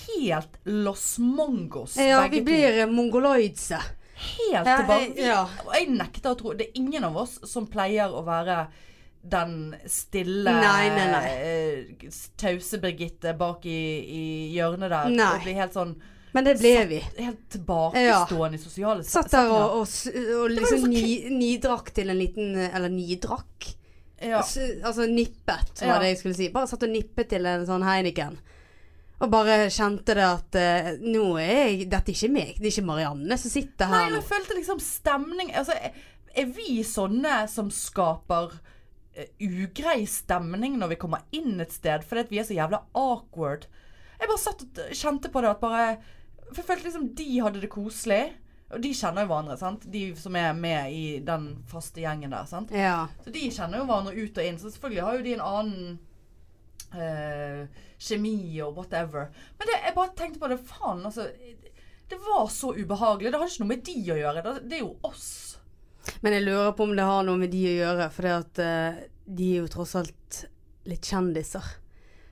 helt Los Mongos,
ja, vi
begge to.
blir eh, mongoloidse.
Helt
Ja,
tilbake.
jeg-
Vi,
ja.
Og jeg nekter å tro Det er ingen av oss som pleier å være den stille,
Nei, nei, nei.
eh, tause Birgitte bak i, i hjørnet der.
Nei.
Og blir helt sånn
Men det ble vi.
helt tilbakestående i sosiale
Satt der
settinger.
og, og, s- og
så
liksom ni, nidrakk til en liten eh, Eller nidrakk?
ja.
S- Altså nippet, var
Ja.
det jeg skulle si. Bare satt og nippet til en sånn Heineken. Og bare kjente det at eh, nå er jeg Dette er ikke meg, det er ikke Marianne som sitter
Nei,
her nå.
jeg følte liksom stemning altså, er, er vi sånne som skaper eh, ugrei stemning når vi kommer inn et sted, fordi at vi er så jævla awkward? Jeg bare satt og t- kjente på det at bare For jeg følte liksom de hadde det koselig. Og de kjenner jo hverandre, sant? De som er med i den faste gjengen der. sant?
Ja.
Så de kjenner jo hverandre ut og inn, så selvfølgelig har jo de en annen eh, kjemi og whatever. Men det, jeg bare tenkte på det, faen altså. Det var så ubehagelig. Det hadde ikke noe med de å gjøre. Det, det er jo oss.
Men jeg lurer på om det har noe med de å gjøre, for at, eh, de er jo tross alt litt kjendiser.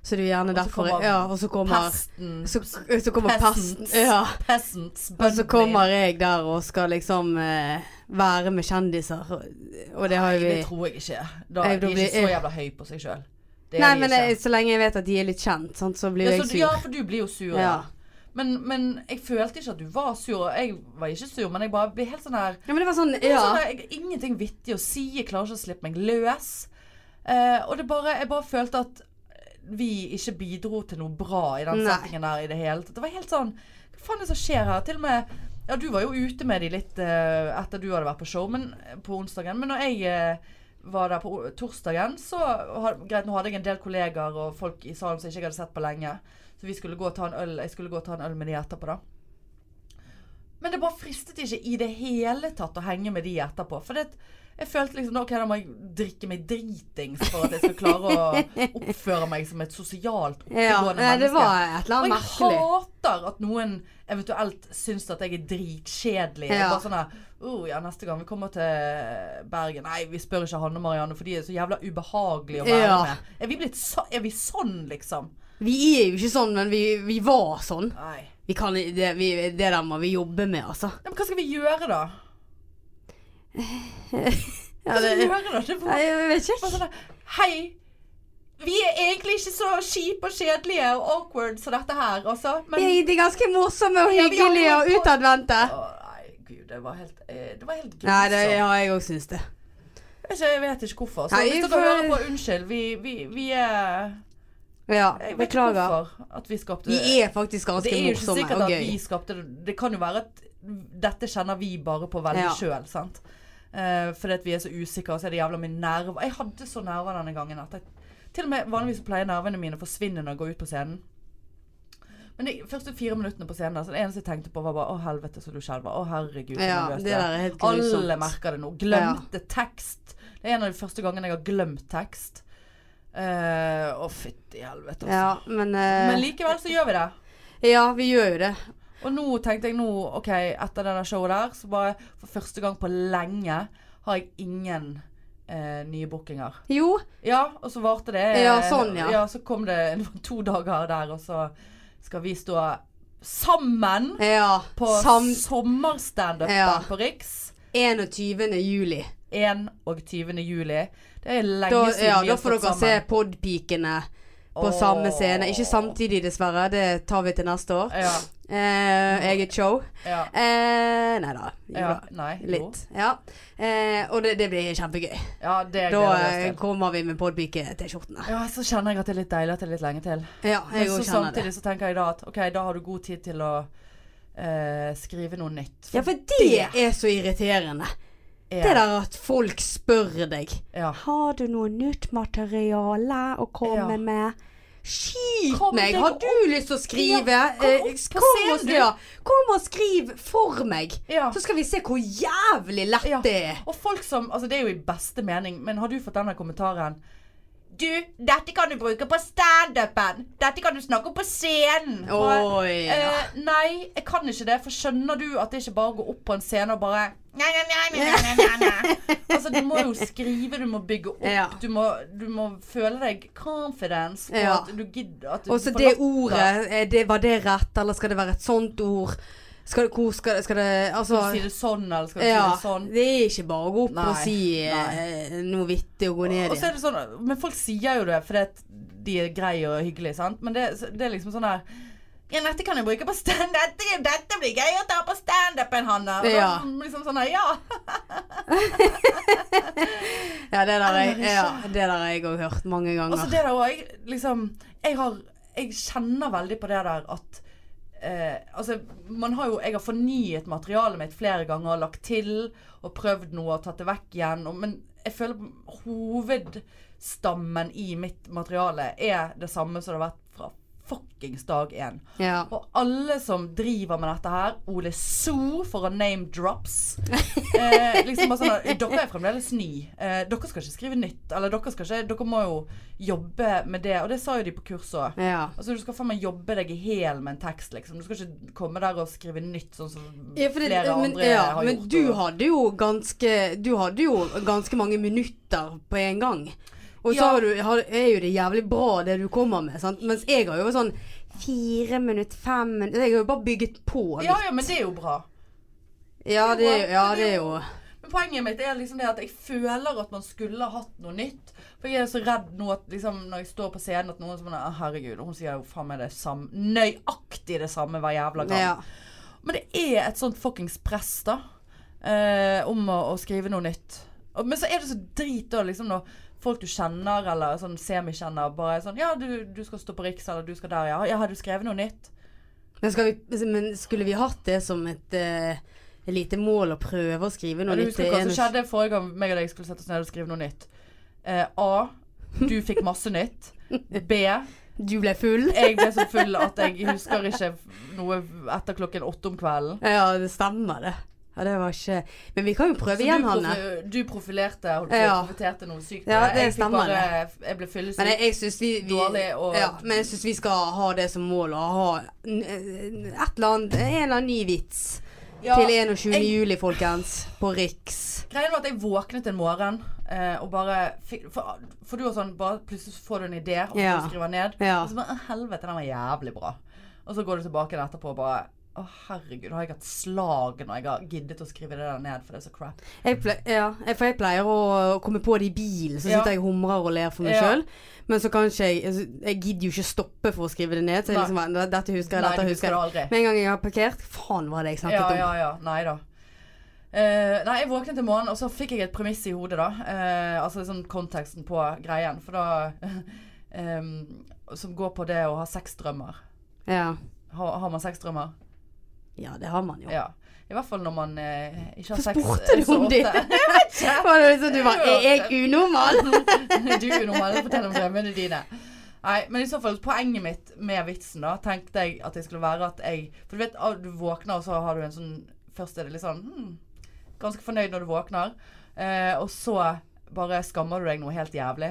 Så det er jo gjerne
så
derfor
kommer
Ja, og så kommer
Pesten.
så, så kommer pesten.
Peasants.
Ja.
Peasants.
Og så
Bunny.
kommer jeg der og skal liksom eh, være med kjendiser, og, og det har jo vi
Det tror jeg ikke. Da,
Nei, da
de er
blir-
ikke så jævla høy på seg sjøl. Det
Nei,
de
men
ikke.
jeg, så lenge jeg vet at de er litt kjent, sant, så blir
ja,
jeg
så,
sur.
du- ja, for du blir jo sur.
Ja.
Ja. Men, men jeg følte ikke at du var sur. og Jeg var ikke sur, men jeg bare ble helt sånn her
Ja, men det var sånn
Det er
Ja.
sånn der, jeg, ingenting vittig å si. Jeg klarer ikke å slippe meg løs. Eh, og det bare, jeg bare følte at vi ikke bidro til noe bra i den
Nei.
settingen der i det hele tatt. Det var helt sånn Hva faen er det som skjer her? Til og med Ja, du var jo ute med de litt eh, etter du hadde vært på show men, eh, på onsdagen, men når jeg eh, var der på o- torsdagen, så had, Greit, nå hadde jeg en del kollegaer og folk i salen som jeg ikke hadde sett på lenge. Så vi skulle gå og ta en øl, jeg skulle gå og ta en øl med de etterpå, da. Men det bare fristet ikke i det hele tatt å henge med de etterpå. For det, Jeg følte liksom OK, da må jeg drikke meg dritings for at jeg skal klare å oppføre meg som et sosialt
Ja,
oppegående
nei,
menneske.
det var et eller
Og
annet
jeg
merkelig.
hater at noen eventuelt syns at jeg er dritkjedelig. Ja.
Ja.
Bare sånn her oh, ja, 'Neste gang vi kommer til Bergen Nei, vi spør ikke Hanne og Marianne, for de er så jævla ubehagelige å være
Ja.
med. Er vi, blitt så, er vi sånn, liksom?
Vi er jo ikke sånn, men vi, vi var sånn.
Nei.
Vi kan, det, vi, det der må vi jobbe med, altså.
Ja, men hva skal vi gjøre, da? Hva
Ja,
skal vi
det,
gjøre da? Det var
Nei, jeg vet
bare
ikke.
sånn her, Hei! Vi er egentlig ikke så kjipe og kjedelige og awkward som dette her, altså. Men
Vi er ganske morsomme og
Ja, vi har
hyggelige og
holdt på-
utadvendte.
Å, Nei, gud, det var helt eh, Det var helt
Nei, det,
grusomt.
ja, jeg òg syns det.
Jeg vet ikke- jeg vet ikke hvorfor. Så
Nei,
hvis dere
for-
hører på, unnskyld. Vi, vi, vi er
Ja,
Jeg vet ikke
beklager.
hvorfor at vi skapte
Vi
det.
er faktisk
Det
ganske
er jo ikke
morsomme
sikkert
og
at
gøy.
vi skapte det. Det kan jo være at dette kjenner vi bare på veldig
Ja.
sjøl, sant. Eh, fordi at vi er så usikre, og så er det jævla mye nerver. Jeg hadde så nerver denne gangen at jeg Til og med vanligvis så pleier nervene mine å forsvinne når jeg går ut på scenen. Men de første fire minuttene på scenen, så det eneste jeg tenkte på var bare Å, helvete, så du skjelver. Å, herregud, så
Ja,
nervøs
det
du er.
der er helt
Alle
grusomt.
merker det nå. Glemte tekst. Det er en av de første gangene jeg har glemt tekst. Eh, å, fytti helvete. altså.
Ja, men, eh,
Men likevel så gjør vi det.
Ja, vi gjør jo det.
Og nå tenkte jeg nå, OK, etter det der showet der, så bare for første gang på lenge har jeg ingen eh, nye bookinger.
Jo,
Ja, og så varte det
Ja, sånn, ja.
ja, så kom det, det var to dager der, og så skal vi stå sammen
ja.
på
Sam
sommerstandupen
Ja.
på Riks.
21. juli.
21. juli. Det er lenge
Da,
siden
ja,
vi
da
har
får
stått
dere
sammen.
se podpikene på
Åh.
samme scene. Ikke samtidig, dessverre. Det tar vi til neste år.
Ja.
Eh, eget show.
ja,
Eh, nei da. Jo
ja.
da.
Nei, jo.
Litt. Ja. Eh, og det, det blir kjempegøy.
Ja, det
Da
gleder vi
eh,
oss til.
kommer vi med podpike-T-skjortene.
Ja, så kjenner jeg at det er litt deilig at det er litt lenge til.
Ja,
Men så
jeg òg kjenner det.
samtidig så tenker jeg da at OK, da har du god tid til å eh, skrive noe nytt.
Ja, for det er så irriterende.
Ja,
Det der at folk spør deg
Ja.
Har du noe nytt materiale å komme
Ja.
med? Skit
Kom
meg!
deg
Har
opp.
du lyst til å skrive?
Ja, kom
Eh,
opp på
kom og-
scenen, du.
ja, Kom og skriv for meg!
Ja.
Så skal vi se hvor jævlig lett
Ja.
det er.
Og folk som Altså, det er jo i beste mening, men har du fått denne kommentaren? Du, dette kan du bruke på standupen! Dette kan du snakke om på scenen!
Oi, ja.
eh, nei, jeg kan ikke det, for skjønner du at det ikke bare går opp på en scene og bare Nei, nei, nei, nei, nei, nei, nei. Altså, du må jo skrive, du må bygge opp,
Ja.
du, må, du må føle deg confidence på
Ja.
at du gidder at du
Og så
får
det
latter.
ordet, eh, det, var det rett, eller skal det være et sånt ord? Skal det, hvor skal det, skal det Altså
Skal du si det sånn, eller skal du
ja,
si det sånn?
det er ikke bare å gå opp
Nei,
og si eh, noe vittig og gå ned
Og så
igjen.
er det sånn, men folk sier jo det fordi at de er greie og hyggelige, sant? Men det, det er liksom sånn her ja, dette kan jeg bruke på stand dette, dette blir gøy å ta på standupen, Hanne. Og
Ja.
så Liksom sånn her, ja.
Ja, det der jeg-
Eller
ja, det der har jeg òg hørt mange
Og så
ganger.
Altså, det der òg. Jeg, liksom, jeg, har- jeg kjenner veldig på det der at eh, Altså, man har jo Jeg har fornyet materialet mitt flere ganger, lagt til og prøvd noe og tatt det vekk igjen. Og, men jeg føler hovedstammen i mitt materiale er det samme som det har vært fra fuckings dag én.
Ja.
Og alle som driver med dette her, Ole So for å name drops eh, liksom bare sånn, at Dere er fremdeles ny. Eh, dere skal ikke skrive nytt. Eller dere, skal ikke, dere må jo jobbe med det. Og det sa jo de på kurs òg.
ja.
Altså, du skal faen meg jobbe deg i hæl med en tekst, liksom. Du skal ikke komme der og skrive nytt, sånn som
Ja, for det,
flere
men,
andre
ja,
har
men
gjort.
du
og-
hadde jo ganske Du hadde jo ganske mange minutter på en gang. Og så
Ja.
har du, har, er jo det jævlig bra det du kommer med, sant? mens jeg har jo sånn fire minutter, fem minutter Jeg har jo bare bygget på. liksom.
ja, ja, men det er jo bra.
ja, det, er jo- ja,
det
det
er
er
jo-
jo
Men poenget mitt er liksom det at jeg føler at man skulle hatt noe nytt. For jeg er så redd nå at liksom, når jeg står på scenen at noen som er, «Å, Herregud, hun sier jo faen meg det samme. Nøyaktig det samme hver jævla gang.
ja.
Men det er et sånt fuckings press, da. Eh, om å, å skrive noe nytt. Og, men så er det så drit da, liksom når folk du kjenner, eller sånn semikjenner, bare er sånn Ja, du, du skal stå på Riks, eller du skal der, ja. Ja, har du skrevet noe nytt?
men, skal vi, men skulle vi hatt det som et eh, lite mål å prøve å skrive noe
Du
litt
husker hva som
enus-
skjedde forrige gang meg og deg skulle sette oss ned og skrive noe nytt. Eh, A. Du fikk masse nytt. B.
Du ble full?
Jeg ble så full at jeg husker ikke noe etter klokken åtte om kvelden.
Ja, det stemmer det. Ja, det var ikke Men vi kan jo prøve
Så
igjen,
du,
Hanne.
profi- du profilerte holdt på, å si,
Ja.
profiterte noe sykt.
Ja, det
jeg fikk
stemmer
Bare, jeg ble fyllesyk.
Men jeg, jeg syns vi, vi
Dårlig og-
ja, Men jeg synes vi skal ha det som mål å ha n- n- et eller annet En eller annen ny vits
Ja,
til 21.
jeg-
juli, folkens. På Riks.
Greien var at jeg våknet en morgen eh, og bare fikk, for, for du var sånn bare Plutselig så får du en idé, og så
Ja.
du skriver ned.
Ja.
Og så bare «Å, Helvete, den var jævlig bra. Og så går du tilbake igjen etterpå og bare Å, herregud, nå har jeg hatt slag når jeg har giddet å skrive det der ned, for det er så crap.
Jeg ple- ja, jeg- for jeg pleier å komme på det i bilen, så
Ja.
sitter jeg og humrer og ler for meg
Ja.
sjøl. Men så kan ikke jeg altså, Jeg gidder jo ikke stoppe for å skrive det ned. Så jeg
Nei.
liksom, bare, dette husker jeg,
Nei,
dette
du
husker
husker
jeg.
det aldri.
Med en gang jeg har parkert Faen, hva var det jeg snakket
Ja,
om?
ja, ja. Nei da. Eh, nei, jeg våknet en morgen, og så fikk jeg et premiss i hodet, da. Eh, altså sånn konteksten på greien. For da em, Som går på det å ha sexdrømmer.
Ja.
Har, har man sexdrømmer?
ja, det har man jo.
Ja. I hvert fall når man eh, ikke har
Hvorfor
sex eh,
spurte du
så
om det?
ofte.
Var det liksom, du bare Er jeg unormal?
du er normal, fortell om drømmene dine. Nei, men i så fall poenget mitt med vitsen, da, tenkte jeg at det skulle være at jeg For du vet, ah, du våkner, og så har du en sånn Først er det litt sånn hmm, Ganske fornøyd når du våkner. Eh, og så bare skammer du deg noe helt jævlig.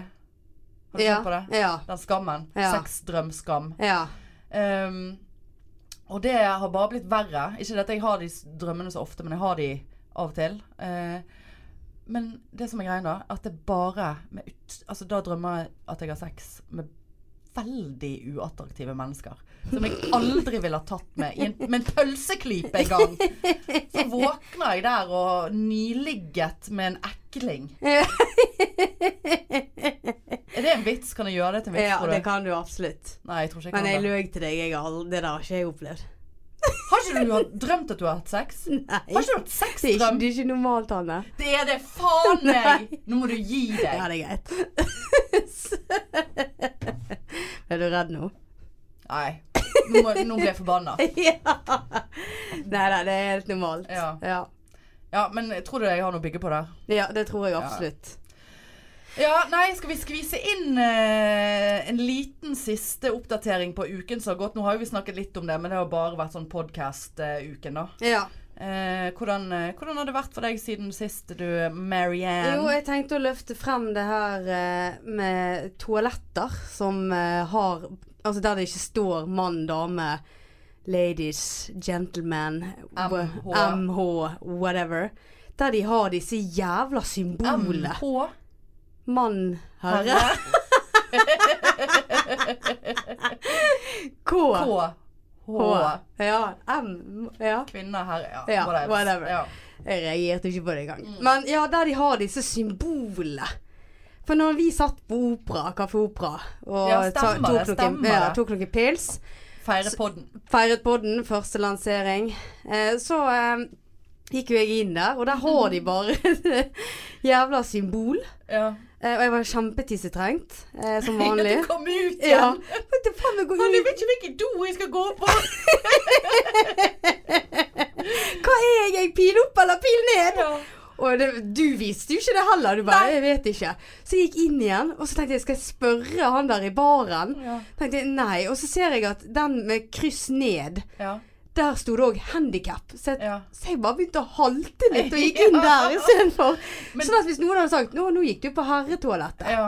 Har du
Ja.
kjent på det?
Ja.
Den skammen.
Ja.
Sex, drøm, skam.
ja.
Ehm, og det har bare blitt verre. Ikke det at jeg har de s- drømmene så ofte, men jeg har de av og til. Eh, men det som er greia da, at det bare med ut, Altså da drømmer jeg at jeg har sex med veldig uattraktive mennesker. Som jeg aldri ville ha tatt med i en, med en pølseklype en gang. Så våkner jeg der og nyligget med en ekling. Er det en vits? Kan jeg gjøre det til en vits?
ja
tror du?
det kan du absolutt.
Nei, jeg tror ikke jeg
Men jeg
kan det.
løy til deg. Jeg har aldri, det der har ikke jeg opplevd.
Har ikke du hatt- drømt at du har hatt sex?
Nei.
Har ikke du hatt
Det er ikke,
sexdrøm?
det er ikke normalt, Hanne.
Det er det faen meg!
Nei.
Nå må du gi
Ja,
deg.
det er greit. Er du redd nå?
Nei. Nå, må, nå ble jeg forbanna.
Ja. Nei da, det er helt normalt.
Ja.
ja.
Ja, men jeg tror du jeg har noe å bygge på der?
Ja, det tror jeg absolutt.
Ja, nei, skal vi skvise inn eh, en liten siste oppdatering på uken som har gått? Nå har jo vi snakket litt om det, men det har bare vært sånn podkast-uken, da.
Ja.
Eh, hvordan, eh, hvordan har det vært for deg siden sist, du
Jo,
Marianne?
jeg tenkte å løfte frem det her eh, med toaletter som eh, har Altså der det ikke står mann, dame, ladies, gentleman,
MH.
wha- MH, whatever. Der de har disse jævla
E
symbolene.
MH?
Mann, herre,
Herre?
K.
K? H?
Ja, M. Ja.
Kvinne? Herre?
Ja,
Ja,
whatever.
Ja.
Jeg reagerte ikke på det engang.
Mm.
Men ja, der de har disse symbolene. For når vi satt på opera, Kaffe Opera, og
Ja,
ta-
stemmer det,
tok, noen,
stemmer
ja,
det.
tok noen pils,
Feire podden.
feiret podden, første lansering, eh, så eh, gikk jo jeg inn der, og der har
Mm.
de bare et jævla symbol.
Ja.
Eh, og jeg var kjempetissetrengt, eh, som
Ja,
vanlig.
du kom ut igjen!
Ja. Men det faen meg går
Men jeg
ut.
vet ikke hvilken do jeg skal gå på!
Hva er jeg? Pil opp eller pil ned?
Ja.
Og det, du visste jo ikke det heller. Du bare, jeg vet ikke. Så jeg gikk inn igjen, og så tenkte jeg, skal jeg spørre han der i baren?
Ja.
Tenkte jeg, nei. Og så ser jeg at den med kryss ned,
Ja.
der sto det òg handikap. Så, jeg-
Ja.
så jeg bare begynte å halte litt og gikk inn der istedenfor.
Men-
Sånn at hvis noen hadde sagt, nå, nå gikk du på herretoalettet,
ja.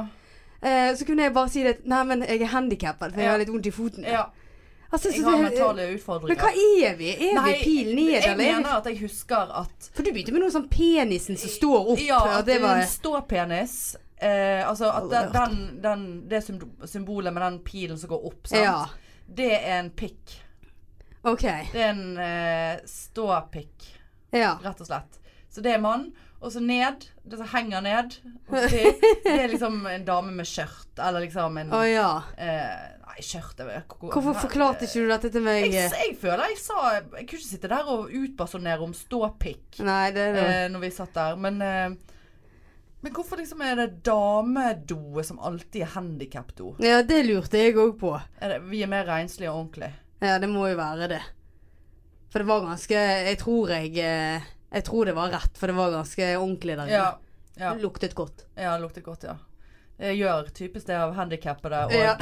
eh, så kunne jeg bare si det, nei, men jeg er handikappet, for jeg
Ja.
har litt vondt i foten.
ja.
Altså,
Jeg
så-
har mentale
men hva
utfordringer.
er vi? Er vi pil ned,
jeg
eller? er vi-
mener at jeg husker at
For du begynte med noe sånn penisen som står opp.
Ja,
og
at
det var...
en ståpenis eh, Altså at
Aldri hørt
den, den, det symb- symbolet med den pilen som går opp, sant?
Ja.
Det er en pikk.
Ok,
Det er en eh, ståpikk,
ja.
rett og slett. Så det er mann. Og så ned. Det som henger ned. og til, Det er liksom en dame med skjørt, eller liksom en
Å ja.
Eh, nei, skjørt jeg vet ikke hvor-
Hvorfor forklarte ikke du dette til meg?
jeg, jeg føler jeg sa Jeg kunne ikke sitte der og utbasonere om ståpikk
Nei, det er det.
eh, når vi satt der, men eh, Men hvorfor liksom er det damedoet som alltid er handikapdo?
Ja, det lurte jeg òg på.
Er det- Vi er mer renslige og ordentlige.
Ja, det må jo være det. For det var ganske Jeg tror jeg eh, Jeg tror det var rett, for det var ganske ordentlig der inne.
Ja. Ja,
Luktet godt.
ja det lukter godt, ja. Jeg gjør typisk det av handikappede og
Ja.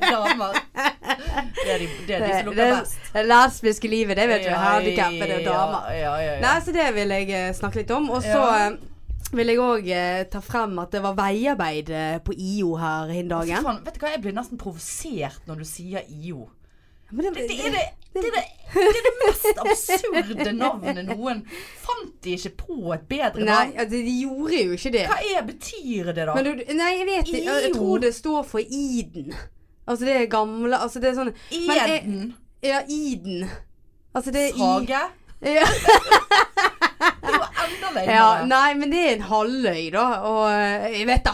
damer. Det det er de, det er de som
det,
lukter best.
det lesbiske livet, det vet du. Handikappede og
Ja,
damer.
ja, ja, ja.
Nei, så det vil jeg eh, snakke litt om. Og så
Ja.
eh, vil jeg òg ta frem at det var veiarbeid eh, på IO her hin
Fy
dagen.
faen, vet du hva, jeg blir nesten provosert når du sier IO.
Men det,
Det er det, det, er det, det, er det mest absurde navnet noen Fant de ikke på et bedre
Nei,
navn?
altså, de gjorde jo ikke det.
Hva er, betyr det, da?
Men du, nei, jeg vet ikke. Jeg- Jeg
IO?
tror det står for Iden. Altså det er gamle Altså det er sånn men jeg-
Eden?
Ja, Iden. Altså det er i...
Hage?
Ja,
Det er jo enda
ja,
lenger.
nei, men det er en halvøy, da. Og eh, jeg vet da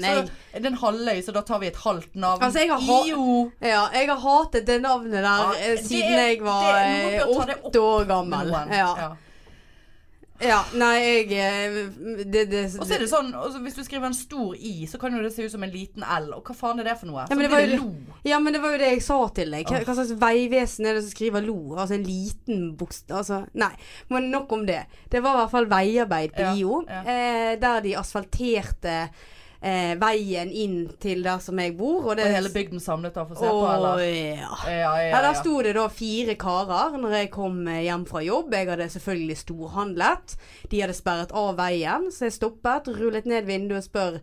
Så
jeg.
er det en halvøy, så da tar vi et halvt navn.
Altså, jeg har ha-
IO.
Ja, jeg har hatet det navnet der
Ja,
eh,
det-
siden jeg var
det- noen
eh,
bør ta det opp
åtte år gammel.
Noen.
Ja.
Ja.
ja. Nei, jeg eh, Det, det,
Og så er det sånn, altså, hvis du skriver en stor I, så kan jo det se ut som en liten L. Og hva faen er det for noe? Så
men
blir
det var
det
jo-
lo.
Ja, men det var jo det jeg sa til deg. Hva, hva slags veivesen er det som skriver lo? Altså en liten bokstav Altså, nei. Men nok om det. Det var i hvert fall veiarbeid på
Ja,
IO.
ja.
Eh, der de asfalterte eh, veien inn til der som jeg bor. Og
Og
det
hele bygden samlet da for å se på,
Å,
eller?
ja.
Ja, ja, ja.
Ja, der sto det da fire karer når jeg kom eh, hjem fra jobb. Jeg hadde selvfølgelig storhandlet. De hadde sperret av veien, så jeg stoppet, rullet ned vinduet og spør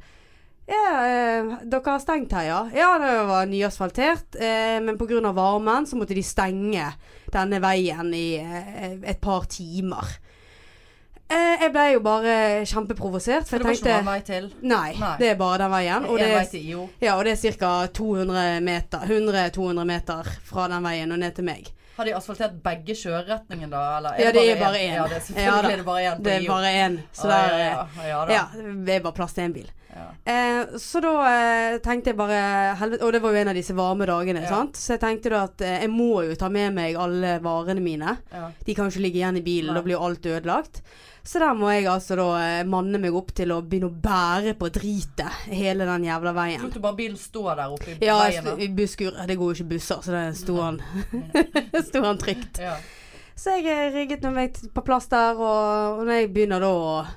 Ja, eh, dere har stengt her, ja? Ja, det var nyasfaltert, eh, men pga. varmen så måtte de stenge denne veien i eh, et par timer. Eh, jeg ble jo bare kjempeprovosert, for
For det
jeg
var ikke
tenkte
noen vei til.
Nei,
Nei.
det er bare den veien. Og
en
det
vei til IO.
ja, og det er ca. 200 meter, 100-200 meter fra den veien og ned til meg.
Har de asfaltert begge kjøreretningen da? Eller
Ja, det er bare
en?
én.
Ja, det er
Ja, da.
selvfølgelig er det bare én på
Det er
IO.
bare én, så
Ja,
der
ja, ja, ja, da.
Ja, det er bare plass til én bil.
Ja.
Eh, så da eh, tenkte jeg bare helvete, Og det var jo en av disse varme dagene,
Ja.
sant. Så jeg tenkte da at eh, jeg må jo ta med meg alle varene mine.
Ja.
De kan jo ikke ligge igjen i bilen,
Nei.
da blir jo alt ødelagt. Så der må jeg altså da eh, manne meg opp til å begynne å bære på dritet hele den jævla veien.
Lot du bare bilen stå der oppe i
Ja,
veien? da?
i busskur. Det går jo ikke busser, så det sto han, sto han trygt.
Ja.
Så jeg eh, rigget med meg t- på plass der, og, og når jeg begynner da å,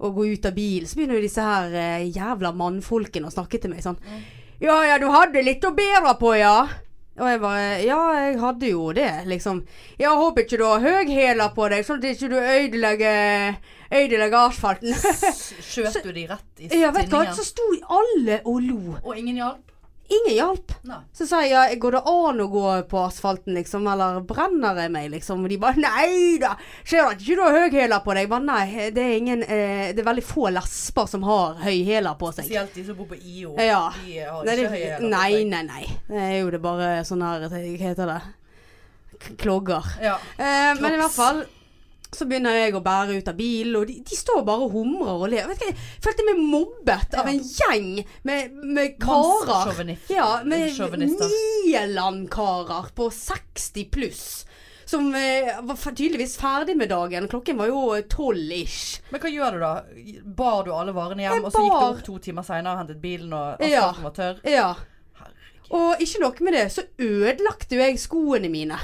å gå ut av bil, så begynner jo disse her eh, jævla mannfolkene å snakke til meg sånn
Mm.
Ja ja, du hadde litt å bære på, ja. Og jeg bare Ja, jeg hadde jo det, liksom. Ja, håper ikke du har høghæler på deg, sånn at ikke du ødelegger, ødelegger asfalten.
S- Skjøt du de rett i
ja, vet du hva,
tinningen?
så sto alle og lo.
Og ingen hjalp?
Ingen hjalp.
Nei.
Så sa jeg ja, går det an å gå på asfalten, liksom, eller brenner jeg meg, liksom? Og de bare nei da, ser du at ikke du har høyhæler på deg? Jeg bare nei, det er ingen eh, Det er veldig få lesber som har høyhæler på seg.
Spesielt de som bor på IO.
Ja.
De har
Nei,
ikke
det,
høye hæler.
nei, nei, nei. Det er jo det bare sånn her Hva heter det? K- Klogger.
Ja.
Eh, men i
Klaps.
hvert fall så begynner jeg å bære ut av bilen, og de, de står bare og humrer og ler. Vet du hva, Jeg følte meg mobbet av
Ja.
en gjeng med, med karer.
Mannssjåvinist-
Ja, med
sjåvinister.
Nieland-karer på 60 pluss. Som eh, var f- tydeligvis ferdig med dagen. Klokken var jo tolv ish.
Men hva gjør du da? Bar du alle varene hjem,
Jeg
og så gikk du
bar-
opp to timer seinere og hentet bilen, og
Ja.
asfalten var tørr?
Ja.
Herregud.
Og ikke nok med det, så ødelagte jo jeg skoene mine.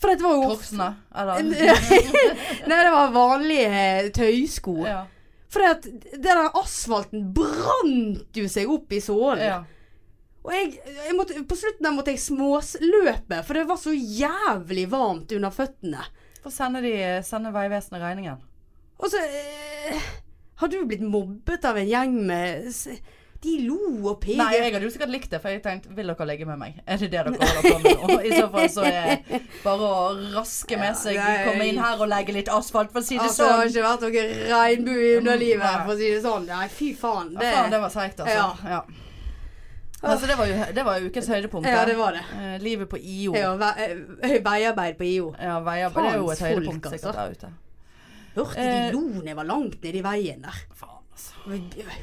For dette var jo
Kroksene, eller?
Nei, det var vanlige eh, tøysko.
Ja.
Fordi at det der asfalten brant jo seg opp i sålen.
ja.
Og jeg, jeg måtte, på slutten der måtte jeg småsløpe, for det var så jævlig varmt under føttene.
Få sende, de, sende Vegvesenet regningen.
Og så eh, Har du blitt mobbet av en gjeng med s- De lo og pekte.
Nei, jeg hadde jo sikkert likt det, for jeg tenkte Vil dere ligge med meg? Er det det dere holder på med nå? I så fall så er det bare å raske med seg,
nei.
komme inn her og legge litt asfalt, for å si det
Altså, det har
sånn.
ikke vært noe regnbue i underlivet,
Nei.
for å si det sånn. Nei, fy faen.
Ja,
Det,
faen, det var seigt, altså. Ja. Altså, det var jo det var jo ukens høydepunkt.
ja,
det.
det var det.
Eh, livet på IO.
Ja, ve eh, veiarbeid på IO.
Ja, veier, det er jo et
Faens folk,
høydepunkt
altså.
sikkert der ute.
Hørte de
Eh.
lo når jeg var langt nede i veien der.
Faen, altså.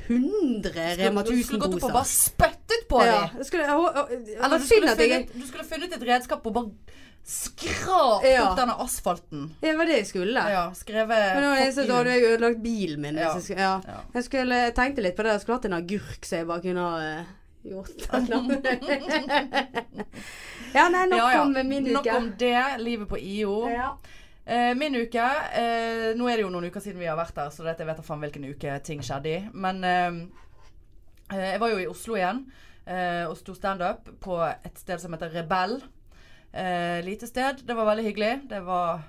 100 Rema
Du skulle gått opp og bare
1000-poser.
spyttet på
Ja,
dem!
jeg skulle, jeg, jeg, jeg,
Eller du
synd
skulle,
at jeg,
funnet, du skulle funnet et redskap og bare skrapt
Ja.
opp denne asfalten.
det var det jeg skulle.
Ja, skrevet
Men nå er jeg så
fuck you.
da hadde jeg ødelagt bilen min. hvis
Ja.
Jeg, skulle, ja.
Ja.
jeg skulle jeg tenkte litt på det. Jeg skulle hatt en agurk så jeg bare kunne ha eh, gjort det. ja, nei, nok
Ja, ja.
om min
Nok
uke.
om det. Livet på IO.
Ja.
Eh, min uke eh, Nå er det jo noen uker siden vi har vært der, ehm, så dette jeg vet da faen hvilken uke ting skjedde i. Men eh, eh, jeg var jo i Oslo igjen. eh, og sto standup på et sted som heter Rebell. Eh, lite sted. Det var veldig hyggelig. Det var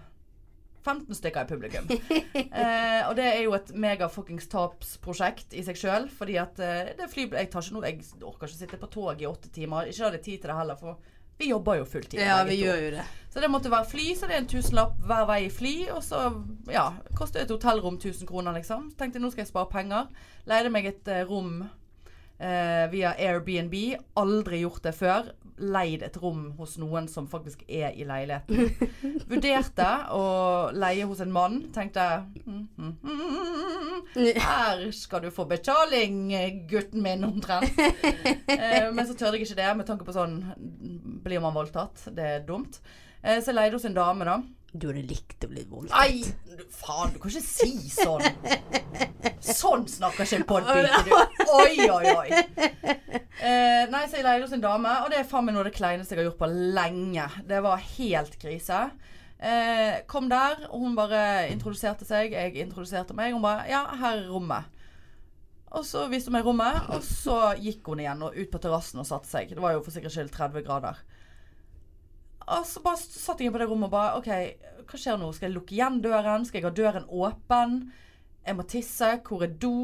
15 stykker i publikum. Eh, og det er jo et mega fuckings tapsprosjekt i seg sjøl. Fordi at eh, det fly, jeg, tar ikke noe, jeg orker ikke sitte på tog i åtte timer. Ikke hadde jeg tid til det heller, for vi jobber jo fulltid.
Ja,
begge
vi
to.
gjør jo det.
Så det måtte være fly, så det er en tusenlapp hver vei i fly. Og så, ja, koster et hotellrom 1000 kroner, liksom. Så tenkte jeg nå skal jeg spare penger. Leide meg et eh, rom eh, via Airbnb. Aldri gjort det før. Leid et rom hos noen som faktisk er i leiligheten. Vurderte å leie hos en mann. Tenkte mm, mm, mm, mm, mm. Her skal du få betaling, gutten min, omtrent. Eh, men så tørde jeg ikke det, med tanke på sånn Blir man voldtatt? Det er dumt. Eh, så jeg leide hos en dame, da.
Du hadde likt å bli voldtatt.
Nei, du- faen, du kan ikke si sånn! Sånn snakker ikke en podbiter, du. Oi, oi, oi. Eh, nei, så jeg leide hos en dame, og det er faen meg noe av det kleineste jeg har gjort på lenge. Det var helt krise. Eh, kom der, og hun bare introduserte seg, jeg introduserte meg. Hun bare Ja, her er rommet. Og så viste hun meg rommet, og så gikk hun igjen og ut på terrassen og satte seg. Det var jo for sikkerhets skyld 30 grader. Og så bare satt jeg inn på det rommet og bare OK, hva skjer nå? Skal jeg lukke igjen døren? Skal jeg ha døren åpen? Jeg må tisse. Hvor er do?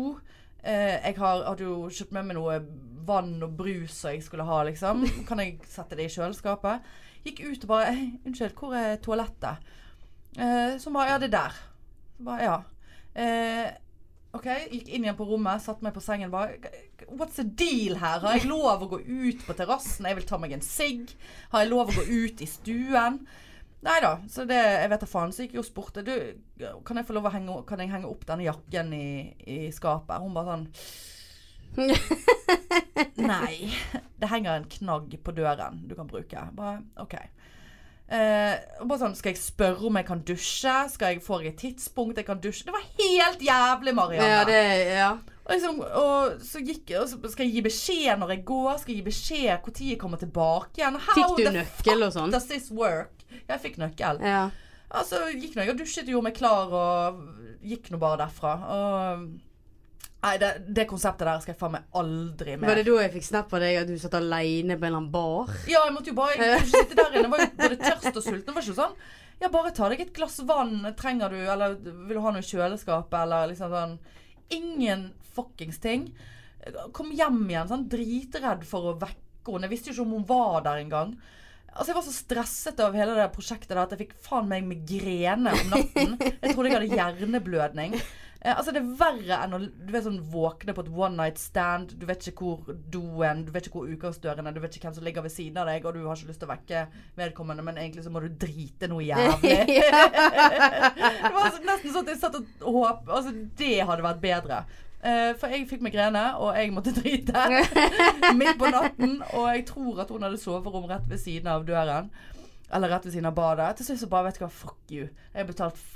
Eh, jeg har, hadde jo kjøpt med meg noe vann og brus som jeg skulle ha, liksom. Kan jeg sette det i kjøleskapet? Gikk ut og bare «Hei, Unnskyld, hvor er toalettet? Eh, så bare Ja, det er der. Så bare, ja. Eh, OK. Gikk inn igjen på rommet, satte meg på sengen bare What's the deal her? Har jeg lov å gå ut på terrassen? Jeg vil ta meg en sigg. Har jeg lov å gå ut i stuen? Nei da, så det Jeg vet da faen. Så gikk jeg og spurte du, kan jeg få lov å henge, kan jeg henge opp denne jakken i, i skapet. Hun bare sånn Nei. Det henger en knagg på døren du kan bruke. Bare OK. Eh, og bare sånn, Skal jeg spørre om jeg kan dusje? Skal jeg få et tidspunkt jeg kan dusje? Det var helt jævlig, Marianne.
Ja, det Ja.
Og, liksom, og så gikk jeg, og så skal jeg gi beskjed når jeg går, skal jeg gi beskjed når jeg kommer tilbake igjen. How
Fikk du
the
nøkkel og sånn?
fuck Does this work? Jeg fikk nøkkel.
Ja.
Altså, gikk nå jeg og dusjet og gjorde meg klar og gikk nå bare derfra. Og Nei, det, det konseptet der skal jeg faen meg aldri mer.
Var det da jeg fikk snap av deg at du satt aleine på en eller annen bar?
Ja, jeg måtte jo bare jeg kunne ikke sitte der inne. Jeg var jo både tørst og sulten. Det var ikke sånn Ja, bare ta deg et glass vann. Trenger du Eller vil du ha noe i kjøleskapet? Eller liksom sånn Ingen fuckings ting. Kom hjem igjen sånn dritredd for å vekke henne. Jeg visste jo ikke om hun var der engang. Altså, jeg var så stresset av hele det prosjektet der at jeg fikk faen meg migrene om natten. Jeg trodde jeg hadde hjerneblødning. Eh, altså, det er verre enn å du vet, sånn, våkne på et one night stand. Du vet ikke hvor doen, du vet ikke hvor utgangsdøren er, du vet ikke hvem som ligger ved siden av deg, og du har ikke lyst til å vekke vedkommende, men egentlig så må du drite noe jævlig. Det var altså nesten sånn at jeg satt og håpet Altså, det hadde vært bedre. Eh, for jeg fikk migrene, og jeg måtte drite midt på natten. Og jeg tror at hun hadde soverom rett ved siden av døren. Eller rett ved siden av badet. Til slutt så bare vet du hva, fuck you. Jeg har betalt f-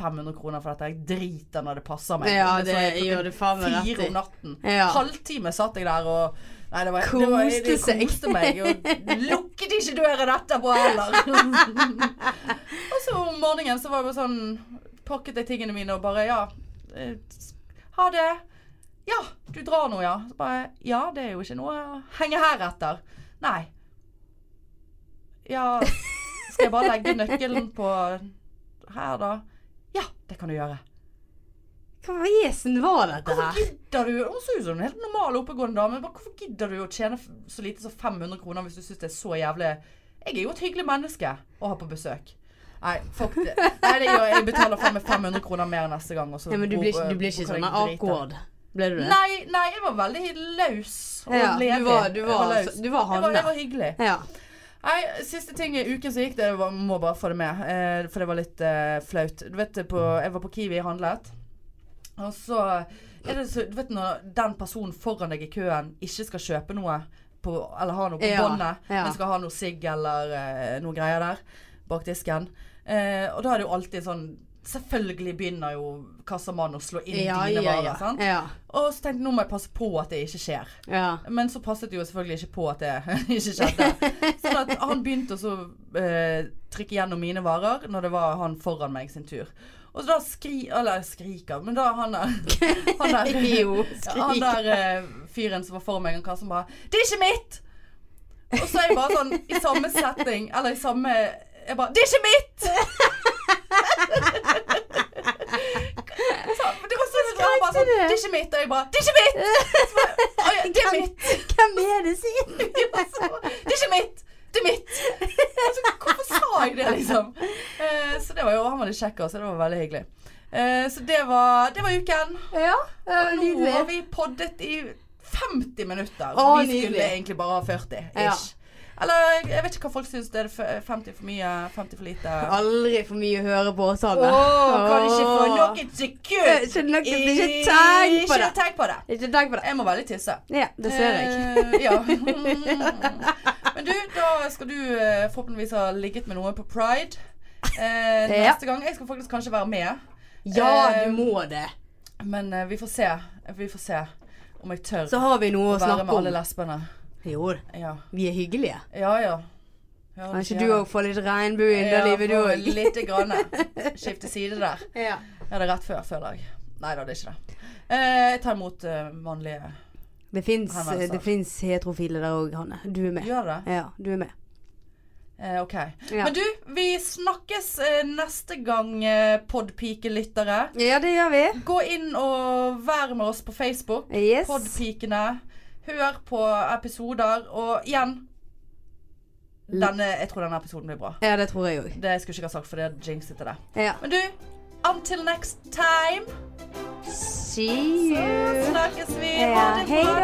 500 kroner for dette. Jeg driter når det passer meg.
Ja,
så jeg
det
klokken
gjør du faen meg rett
Fire
i.
om natten.
Ja.
Halvtime satt jeg der og Nei, det var, det var,
Koste
det
seg.
koste meg. Og lukket ikke døren etterpå heller. Og så om morgenen så var det bare sånn Pakket jeg tingene mine og bare Ja, eh, ha det. Ja, du drar nå, ja. Så bare Ja, det er jo ikke noe å henge her etter. Nei. Ja, skal jeg bare legge nøkkelen på her, da? Ja, det kan du gjøre.
Hva vesen var dette
Hvorfor
her?
gidder du Hun så ut som en helt normal oppegående dame. Bare, hvorfor gidder du å tjene f- så lite som 500 kroner hvis du syns det er så jævlig Jeg er jo et hyggelig menneske å ha på besøk. Nei, fuck det. Nei, det gjør jeg. Jeg betaler faen meg 500 kroner mer neste gang. og så
Ja, men du blir, ikke-
hvor- eh,
du blir ikke
hvor kan
sånn
jeg drite?
awkward? Ble du det?
Nei, nei, jeg var veldig løs og
Ja, du
ledig.
var- du
Jeg
var-
løs.
du var
Jeg var,
Hanne.
jeg var hyggelig.
Ja.
Nei, siste ting i uken som gikk, det var, må bare få det med. Eh, for det var litt eh, flaut. Du vet, det på,
Mm.
jeg var på Kiwi og handlet. Og så er det så Du vet når den personen foran deg i køen ikke skal kjøpe noe på, eller ha noe på
Ja,
båndet,
ja.
men skal ha noe sigg eller eh, noe greier der bak disken. Eh, og da er det jo alltid sånn Selvfølgelig begynner jo kassamannen å slå inn
Ja,
dine
ja,
varer.
ja.
Sant?
ja.
Og så tenkte jeg nå må jeg passe på at det ikke skjer.
ja.
Men så passet det jo selvfølgelig ikke på at det ikke skjedde. Sånn at han begynte å så, eh, trykke gjennom mine varer når det var han foran meg sin tur. Og så da skri, eller skriker, men da han er Han der,
Jo,
ja, han
skrik.
der eh, fyren som var for meg, han kassen bare 'Det er ikke mitt!' Og så er jeg bare sånn i samme setting, eller i samme Jeg bare 'Det er ikke mitt!' Så, men det var sånn, at han bare sånn 'Det er ikke mitt', og jeg bare 'Det er ikke mitt!' Så bare, «Å ja, det er mitt.
Hvem er det sin?
Ja, så, det er ikke mitt! Det er mitt! Altså, hvorfor sa jeg det, liksom? Eh, så det var jo, Han var litt kjekk også, så det var veldig hyggelig. Eh, så det var, det var uken.
Ja,
Og nå har vi poddet i 50 minutter.
Å,
vi skulle
nydelig.
egentlig bare ha 40 ish.
Ja.
Eller jeg vet ikke hva folk syns. Det er f- 50 for mye, 50 for lite.
Aldri for mye å høre på oss alle.
Åh, kan ikke få
Åh.
noe sekund
Ikke noe- ikke tenk
Ikke
på det.
tenk på det.
Ikke tenk på det.
Jeg må veldig tisse.
Ja, det ser jeg.
Eh, ja. Men du, da skal du eh, forhåpentligvis ha ligget med noen på Pride. Eh,
Ja.
Neste gang. Jeg skal faktisk kanskje være med. eh,
Ja, du må det.
Men eh, vi får se. Vi får se om jeg tør
Så har vi
å
noe å
være med
snakke
alle
om.
lesbene.
Jo,
Ja
vi er hyggelige.
ja. ja. Ja,
Kan ikke
sier
du
jeg.
òg få litt regnbue inn i
Ja,
livet, du
får
òg?
Lite grann. Skifte side der.
Ja.
Jeg hadde rett før, føler jeg. Nei da, det er ikke det. Eh, jeg tar imot eh, mannlige
Det fins
Han var altså-
det fins heterofile der òg, Hanne. Du er med.
Gjør det?
Ja, du er med.
Eh, ok.
Ja.
Men du, vi snakkes eh, neste gang, eh, podpikelyttere.
Ja, det gjør vi.
Gå inn og vær med oss på Facebook.
Yes.
Podpikene. Hør på episoder. Og igjen denne, Jeg tror denne episoden blir bra.
Ja, det tror jeg òg.
Det skulle jeg ikke ha sagt, for det er jinxet til det.
Ja.
Men du, until next time,
See you.
snakkes vi.
Ja, hei da.